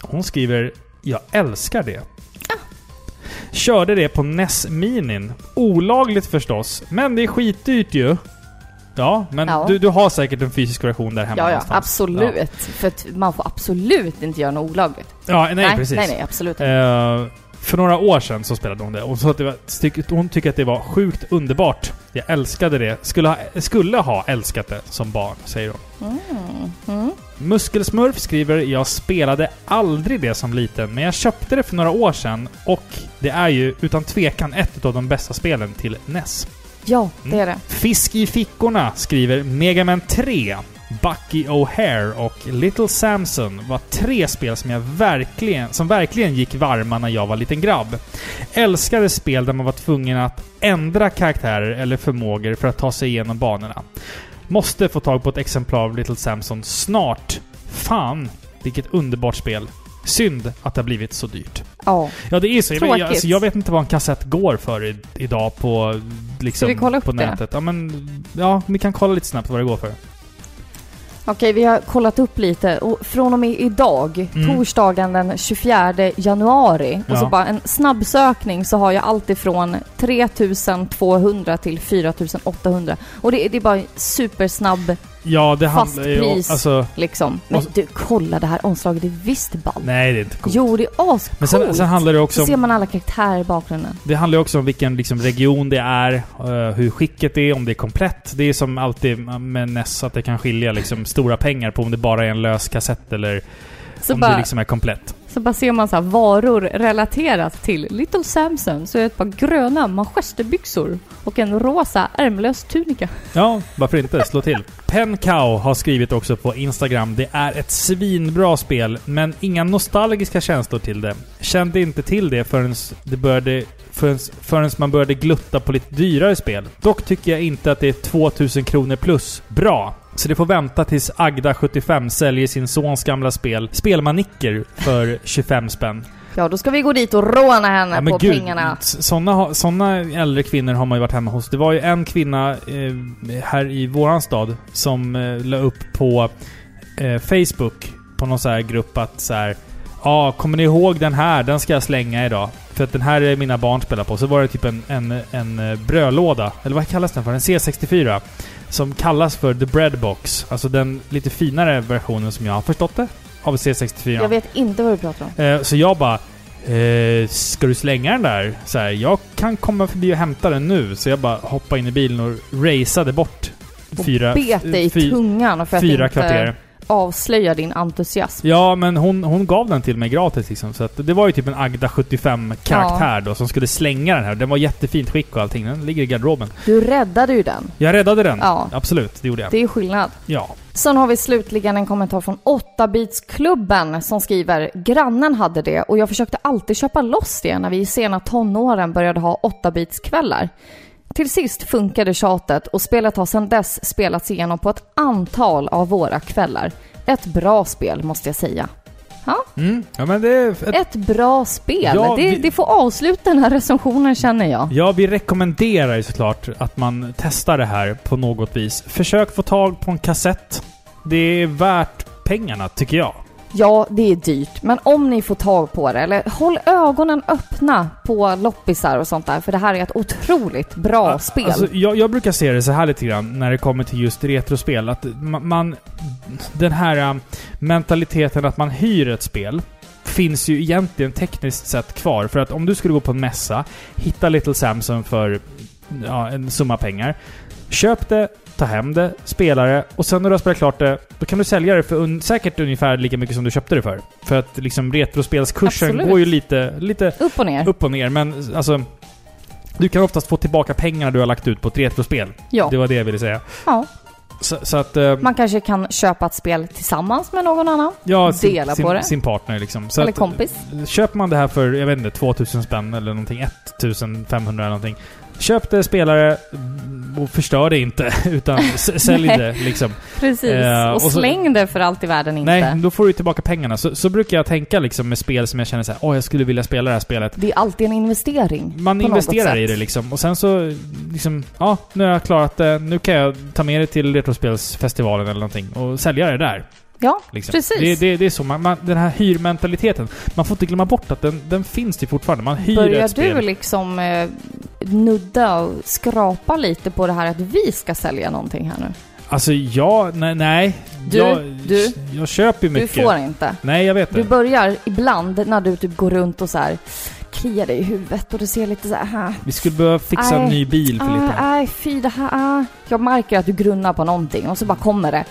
Speaker 1: Hon skriver “Jag älskar det”. Körde det på NES Minin. Olagligt förstås, men det är skitdyrt ju. Ja, men
Speaker 2: Ja.
Speaker 1: Du, du har säkert en fysisk version där hemma
Speaker 2: ja, ja,
Speaker 1: någonstans.
Speaker 2: absolut. För att man får absolut inte göra något olagligt.
Speaker 1: Ja, nej, precis.
Speaker 2: nej, nej, absolut inte.
Speaker 1: Eh, för några år sedan så spelade hon det. Hon, sa att det var, tyck- hon tyckte att det var sjukt underbart. Jag älskade det. Skulle ha, skulle ha älskat det som barn, säger hon.
Speaker 2: Mm.
Speaker 1: Eh.
Speaker 2: Mm.
Speaker 1: Muskelsmurf skriver “Jag spelade aldrig det som liten, men jag köpte det för några år sedan och det är ju utan tvekan ett av de bästa spelen till E NES”.
Speaker 2: Ja,
Speaker 1: Mm.
Speaker 2: det är det.
Speaker 1: Fisk i fickorna skriver Mega Man 3, Bucky O'Hare och Little Samson var tre spel som, jag verkligen, som verkligen gick varma när jag var liten grabb. Älskade spel där man var tvungen att ändra karaktärer eller förmågor för att ta sig igenom banorna. Måste få tag på ett exemplar av Little Samson snart. Fan, vilket underbart spel. Synd att det har blivit så dyrt.
Speaker 2: Ja.
Speaker 1: Ja, det är så. Jag, vet-
Speaker 2: Tråkigt.
Speaker 1: jag, alltså, jag vet inte vad en kassett går för i, idag på, liksom,
Speaker 2: Ska vi kolla upp
Speaker 1: på
Speaker 2: det?
Speaker 1: nätet. Ja, men, ja, vi kan kolla lite snabbt vad det går för.
Speaker 2: Okej, vi har kollat upp lite och från och med idag,
Speaker 1: Mm.
Speaker 2: torsdagen den 24 januari, och så
Speaker 1: Ja.
Speaker 2: bara en snabbsökning så har jag allt ifrån 3200 till 4800. Och det, det är bara en supersnabb
Speaker 1: Ja, det
Speaker 2: Fast
Speaker 1: handlar ju om...
Speaker 2: pris.
Speaker 1: Alltså,
Speaker 2: liksom. Men
Speaker 1: Och så-
Speaker 2: du, kolla det här omslaget, det är visst ballt.
Speaker 1: nej, det är inte coolt.
Speaker 2: Jo, det är ascoolt.
Speaker 1: men sen, sen handlar det också
Speaker 2: så ser
Speaker 1: om,
Speaker 2: man alla karaktärer i bakgrunden.
Speaker 1: det handlar ju också om vilken liksom, region det är, eh, hur skicket är, om det är komplett. Det är som alltid med NES, att det kan skilja liksom, stora pengar på om det bara är en lös kassett eller
Speaker 2: Så
Speaker 1: om
Speaker 2: bara,
Speaker 1: det liksom är komplett.
Speaker 2: så bara ser man så här varor relaterat till Little Samson. Så är det ett par gröna manchesterbyxor och en rosa ärmlös tunika.
Speaker 1: Ja, varför inte? Slå till. Pen Cow har skrivit också på Instagram. Det är ett svinbra spel, men inga nostalgiska känslor till det. Kände inte till det förrän, det började, förrän, förrän man började glutta på lite dyrare spel. Dock tycker jag inte att det är 2000 kronor plus bra. Så det får vänta tills Agda, 75, säljer sin sons gamla spel Spelmanicker för 25 spänn.
Speaker 2: Ja, då ska vi gå dit och råna henne
Speaker 1: Ja, men
Speaker 2: på
Speaker 1: gud,
Speaker 2: pengarna.
Speaker 1: s- Såna, ha- såna äldre kvinnor har man ju varit hemma hos. Det var ju en kvinna eh, här i våran stad som eh, la upp på eh, Facebook, på någon så här grupp att så här, Ja, kommer ni ihåg den här? Den ska jag slänga idag. För att den här är mina barn spelar på. Så var det typ en, en, en eh, brödlåda. Eller vad kallas den för? En C64. Som kallas för The Breadbox. Alltså den lite finare versionen som jag har förstått det. Av C64.
Speaker 2: Jag vet inte vad du pratar om.
Speaker 1: Eh, Så jag bara... Eh, ska du slänga den där? Så här, jag kan komma förbi och hämta den nu. Så jag bara hoppade in i bilen och raceade bort
Speaker 2: Och
Speaker 1: fyra, eh,
Speaker 2: bet dig i
Speaker 1: fy-
Speaker 2: tungan för att
Speaker 1: fyra
Speaker 2: inte
Speaker 1: kvarter.
Speaker 2: avslöja din entusiasm.
Speaker 1: Ja, men hon, hon gav den till mig gratis liksom. Så att det var ju typ en Agda 75-karaktär då som skulle slänga den här. Den var jättefint skick och allting. Den ligger i garderoben.
Speaker 2: Du räddade ju den.
Speaker 1: Jag räddade den.
Speaker 2: Ja.
Speaker 1: Absolut, det gjorde jag.
Speaker 2: Det är skillnad.
Speaker 1: Ja.
Speaker 2: Sen har vi slutligen en kommentar från 8-bitsklubben som skriver “Grannen hade det och jag försökte alltid köpa loss det när vi i sena tonåren började ha 8-bitskvällar. Till sist funkade tjatet och spelet har sedan dess spelats igenom på ett antal av våra kvällar. Ett bra spel måste jag säga. Ja,
Speaker 1: Mm. Ja, men det är ett
Speaker 2: ett bra spel.
Speaker 1: Ja,
Speaker 2: det,
Speaker 1: vi-
Speaker 2: det får avsluta den här recensionen känner jag.
Speaker 1: Ja, vi rekommenderar ju såklart att man testar det här på något vis. Försök få tag på en kassett. Det är värt pengarna, tycker jag.
Speaker 2: Ja, det är dyrt, men om ni får tag på det, eller håll ögonen öppna på loppisar och sånt där, för det här är ett otroligt bra
Speaker 1: Al-
Speaker 2: spel.
Speaker 1: Alltså, jag, jag brukar se det så här lite grann när det kommer till just retrospel. Att ma- man... Den här äh, mentaliteten att man hyr ett spel finns ju egentligen tekniskt sett kvar. För att om du skulle gå på en mässa, hitta Little Samson för ja, en summa pengar. Köp det, ta hem det, spela det och sen när du har spelat klart det, då kan du sälja det för un säkert ungefär lika mycket som du köpte det för. För att liksom retrospelskursen
Speaker 2: Absolut.
Speaker 1: går ju lite, lite
Speaker 2: Upp och ner.
Speaker 1: upp och ner, men alltså... Du kan oftast få tillbaka pengarna du har lagt ut på ett retrospel.
Speaker 2: Ja.
Speaker 1: Det var det jag ville säga.
Speaker 2: ja.
Speaker 1: Så, så att... eh,
Speaker 2: Man kanske kan köpa ett spel tillsammans med någon annan,
Speaker 1: ja,
Speaker 2: dela
Speaker 1: sin,
Speaker 2: på det.
Speaker 1: sin partner liksom. Så
Speaker 2: eller
Speaker 1: att,
Speaker 2: kompis.
Speaker 1: Köper man det här för, jag vet inte, 2000 spänn eller någonting, 1500 eller någonting. Köp det, spela det och förstör det inte. Utan s- sälj
Speaker 2: Nej.
Speaker 1: det liksom.
Speaker 2: Precis.
Speaker 1: eh,
Speaker 2: och,
Speaker 1: och så-
Speaker 2: släng det för allt i världen inte.
Speaker 1: Nej, då får du tillbaka pengarna. Så, så brukar jag tänka liksom med spel som jag känner så här, åh jag skulle vilja spela det här spelet.
Speaker 2: Det är alltid en investering.
Speaker 1: Man
Speaker 2: på något
Speaker 1: investerar
Speaker 2: sätt.
Speaker 1: i det liksom. Och sen så liksom, ja, nu har jag klarat det. Nu kan jag ta med det till Retrospelsfestivalen eller någonting och sälja det där.
Speaker 2: Ja,
Speaker 1: Liksom.
Speaker 2: Precis.
Speaker 1: Det, det, det är så. Man, man, den här hyrmentaliteten. Man får inte glömma bort att den, den finns ju fortfarande. Man hyr
Speaker 2: börjar
Speaker 1: ett spel.
Speaker 2: du liksom eh, nudda och skrapa lite på det här att vi ska sälja någonting här nu?
Speaker 1: Alltså, ja, nej, nej.
Speaker 2: Du,
Speaker 1: jag,
Speaker 2: du.
Speaker 1: jag köper ju mycket.
Speaker 2: Du får inte.
Speaker 1: Nej, jag vet
Speaker 2: Du
Speaker 1: det.
Speaker 2: börjar ibland när du typ går runt och så här kliar dig i huvudet och du ser lite så här. "Ah,
Speaker 1: Vi skulle behöva fixa en
Speaker 2: Nej.
Speaker 1: ny bil för lite.
Speaker 2: ah, Nej, fy det här. Ah. Jag märker att du grunnar på någonting och så bara kommer det.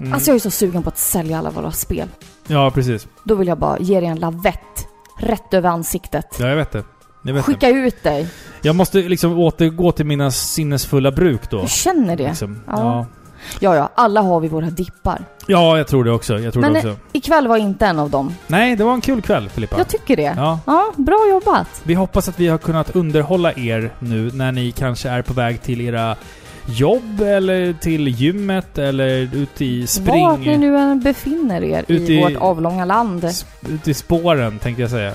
Speaker 1: Mm.
Speaker 2: Alltså jag är så sugen på att sälja alla våra spel.
Speaker 1: Ja, precis.
Speaker 2: Då vill jag bara ge dig en lavett rätt över ansiktet.
Speaker 1: Ja, jag vet det. Jag, vet det.
Speaker 2: Skicka ut dig.
Speaker 1: jag måste liksom återgå till mina sinnesfulla bruk då.
Speaker 2: Du känner det.
Speaker 1: Liksom.
Speaker 2: Ja.
Speaker 1: Ja.
Speaker 2: Ja, ja, alla har vi våra dippar.
Speaker 1: Ja, jag tror det också. Jag tror
Speaker 2: Men,
Speaker 1: det också.
Speaker 2: Ikväll var inte en av dem.
Speaker 1: Nej, det var en kul kväll, Filippa.
Speaker 2: Jag tycker det.
Speaker 1: Ja.
Speaker 2: Ja, bra jobbat.
Speaker 1: Vi hoppas att vi har kunnat underhålla er nu när ni kanske är på väg till era jobb eller till gymmet eller ut i
Speaker 2: Vart ni
Speaker 1: spring...
Speaker 2: nu än befinner er
Speaker 1: Ut
Speaker 2: i
Speaker 1: i-
Speaker 2: vårt avlånga land.
Speaker 1: Sp- ut i spåren, tänkte jag säga.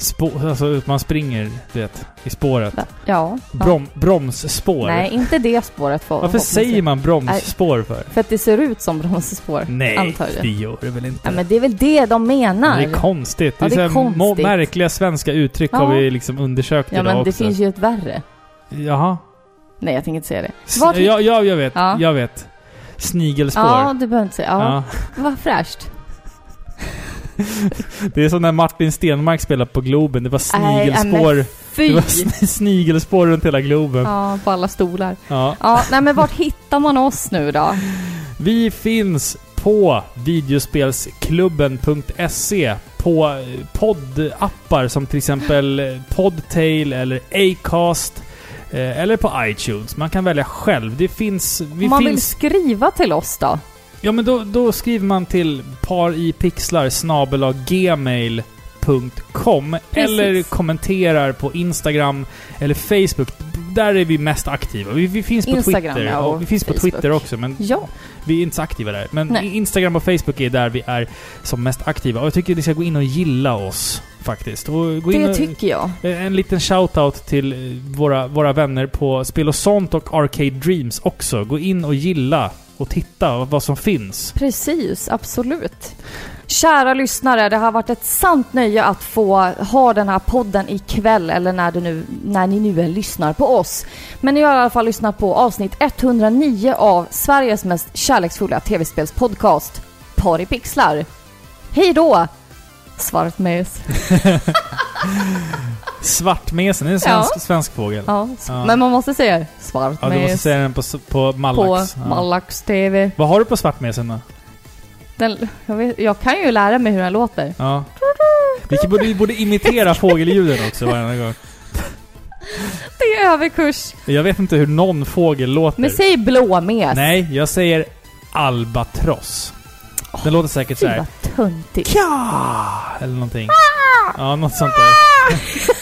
Speaker 1: Spå, alltså, ut- man springer, du vet, i spåret.
Speaker 2: Ja. ja.
Speaker 1: Brom, bromsspår.
Speaker 2: Nej, inte det spåret. För,
Speaker 1: Varför säger man bromsspår för?
Speaker 2: För att det ser ut som bromsspår.
Speaker 1: Nej,
Speaker 2: antar jag.
Speaker 1: det gör det väl inte?
Speaker 2: Ja, men det är väl det de menar.
Speaker 1: Det är konstigt.
Speaker 2: Ja,
Speaker 1: det är,
Speaker 2: det är
Speaker 1: så här må-
Speaker 2: konstigt.
Speaker 1: märkliga svenska uttryck har
Speaker 2: Ja.
Speaker 1: vi liksom undersökt
Speaker 2: ja,
Speaker 1: idag
Speaker 2: men det
Speaker 1: också.
Speaker 2: finns ju ett värre.
Speaker 1: Jaha.
Speaker 2: Nej, jag tänker inte säga det.
Speaker 1: S-
Speaker 2: Vart-
Speaker 1: Ja, ja, jag vet.
Speaker 2: Ja.
Speaker 1: Jag vet. Snigelspår.
Speaker 2: Ja, du behöver inte säga. Ja.
Speaker 1: Ja.
Speaker 2: Vad fräscht.
Speaker 1: Det är som när Martin Stenmark spelade på Globen. Det var
Speaker 2: Nej, men
Speaker 1: snigelspår.
Speaker 2: Fy!
Speaker 1: det var sn- snigelspår runt hela Globen. Ja.
Speaker 2: Ja, på alla stolar. Ja, nej men vart hittar man oss nu då?
Speaker 1: Vi finns på videospelsklubben.se på eh, poddappar som till exempel eh, Podtail eller Acast. eh, Eller på iTunes. Man kan välja själv. Det finns... Vi
Speaker 2: Om man vill
Speaker 1: finns
Speaker 2: skriva till oss då?
Speaker 1: Ja, men då, då skriver man till paripixlar gmail.com
Speaker 2: Precis.
Speaker 1: eller kommenterar på Instagram eller Facebook. Där är vi mest aktiva. Vi, vi finns på
Speaker 2: Instagram,
Speaker 1: Twitter.
Speaker 2: ja, och
Speaker 1: vi finns på
Speaker 2: Facebook.
Speaker 1: Twitter också, men
Speaker 2: Ja.
Speaker 1: vi är inte så aktiva där. Men
Speaker 2: Nej.
Speaker 1: Instagram och Facebook är där vi är som mest aktiva. Och jag tycker ni ska gå in och gilla oss faktiskt. Och gå in
Speaker 2: Det
Speaker 1: och,
Speaker 2: tycker jag.
Speaker 1: Eh, En liten shout-out till eh, våra, våra vänner på Spel och sånt och Arcade Dreams också. Gå in och gilla och titta vad som finns.
Speaker 2: Precis, absolut. Kära lyssnare, det har varit ett sant nöje att få ha den här podden ikväll eller när, du nu, när ni nu än lyssnar på oss. Men ni har i alla fall lyssnat på avsnitt 109 av Sveriges mest kärleksfulla tv-spelspodcast, Par i pixlar. Hej då! Svartmes.
Speaker 1: Svartmesen, det är en svensk, svensk fågel.
Speaker 2: Ja,
Speaker 1: Ja.
Speaker 2: men man måste säga
Speaker 1: Ja, du måste
Speaker 2: svartmes
Speaker 1: säga den på, s- på
Speaker 2: på
Speaker 1: Mallax. ja.
Speaker 2: Malax TV.
Speaker 1: Vad har du på svartmesen då?
Speaker 2: Den, jag, vet, jag kan ju lära mig hur den låter.
Speaker 1: Ja. Vi borde, vi borde imitera fågelljuden också varje gång.
Speaker 2: Det är överkurs.
Speaker 1: Jag vet inte hur någon fågel låter.
Speaker 2: Men säg blåmes.
Speaker 1: Nej, jag säger albatross. Den låter säkert
Speaker 2: Fy
Speaker 1: såhär...
Speaker 2: vad töntigt.
Speaker 1: Kja! Eller någonting. Ja, något sånt där.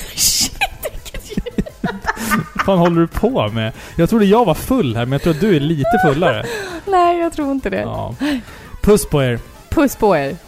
Speaker 1: Vad fan håller du på med? Jag trodde jag var full här, men jag tror att du är lite fullare.
Speaker 2: Nej, jag tror inte det.
Speaker 1: Ja. Puss på er.
Speaker 2: Puss på er.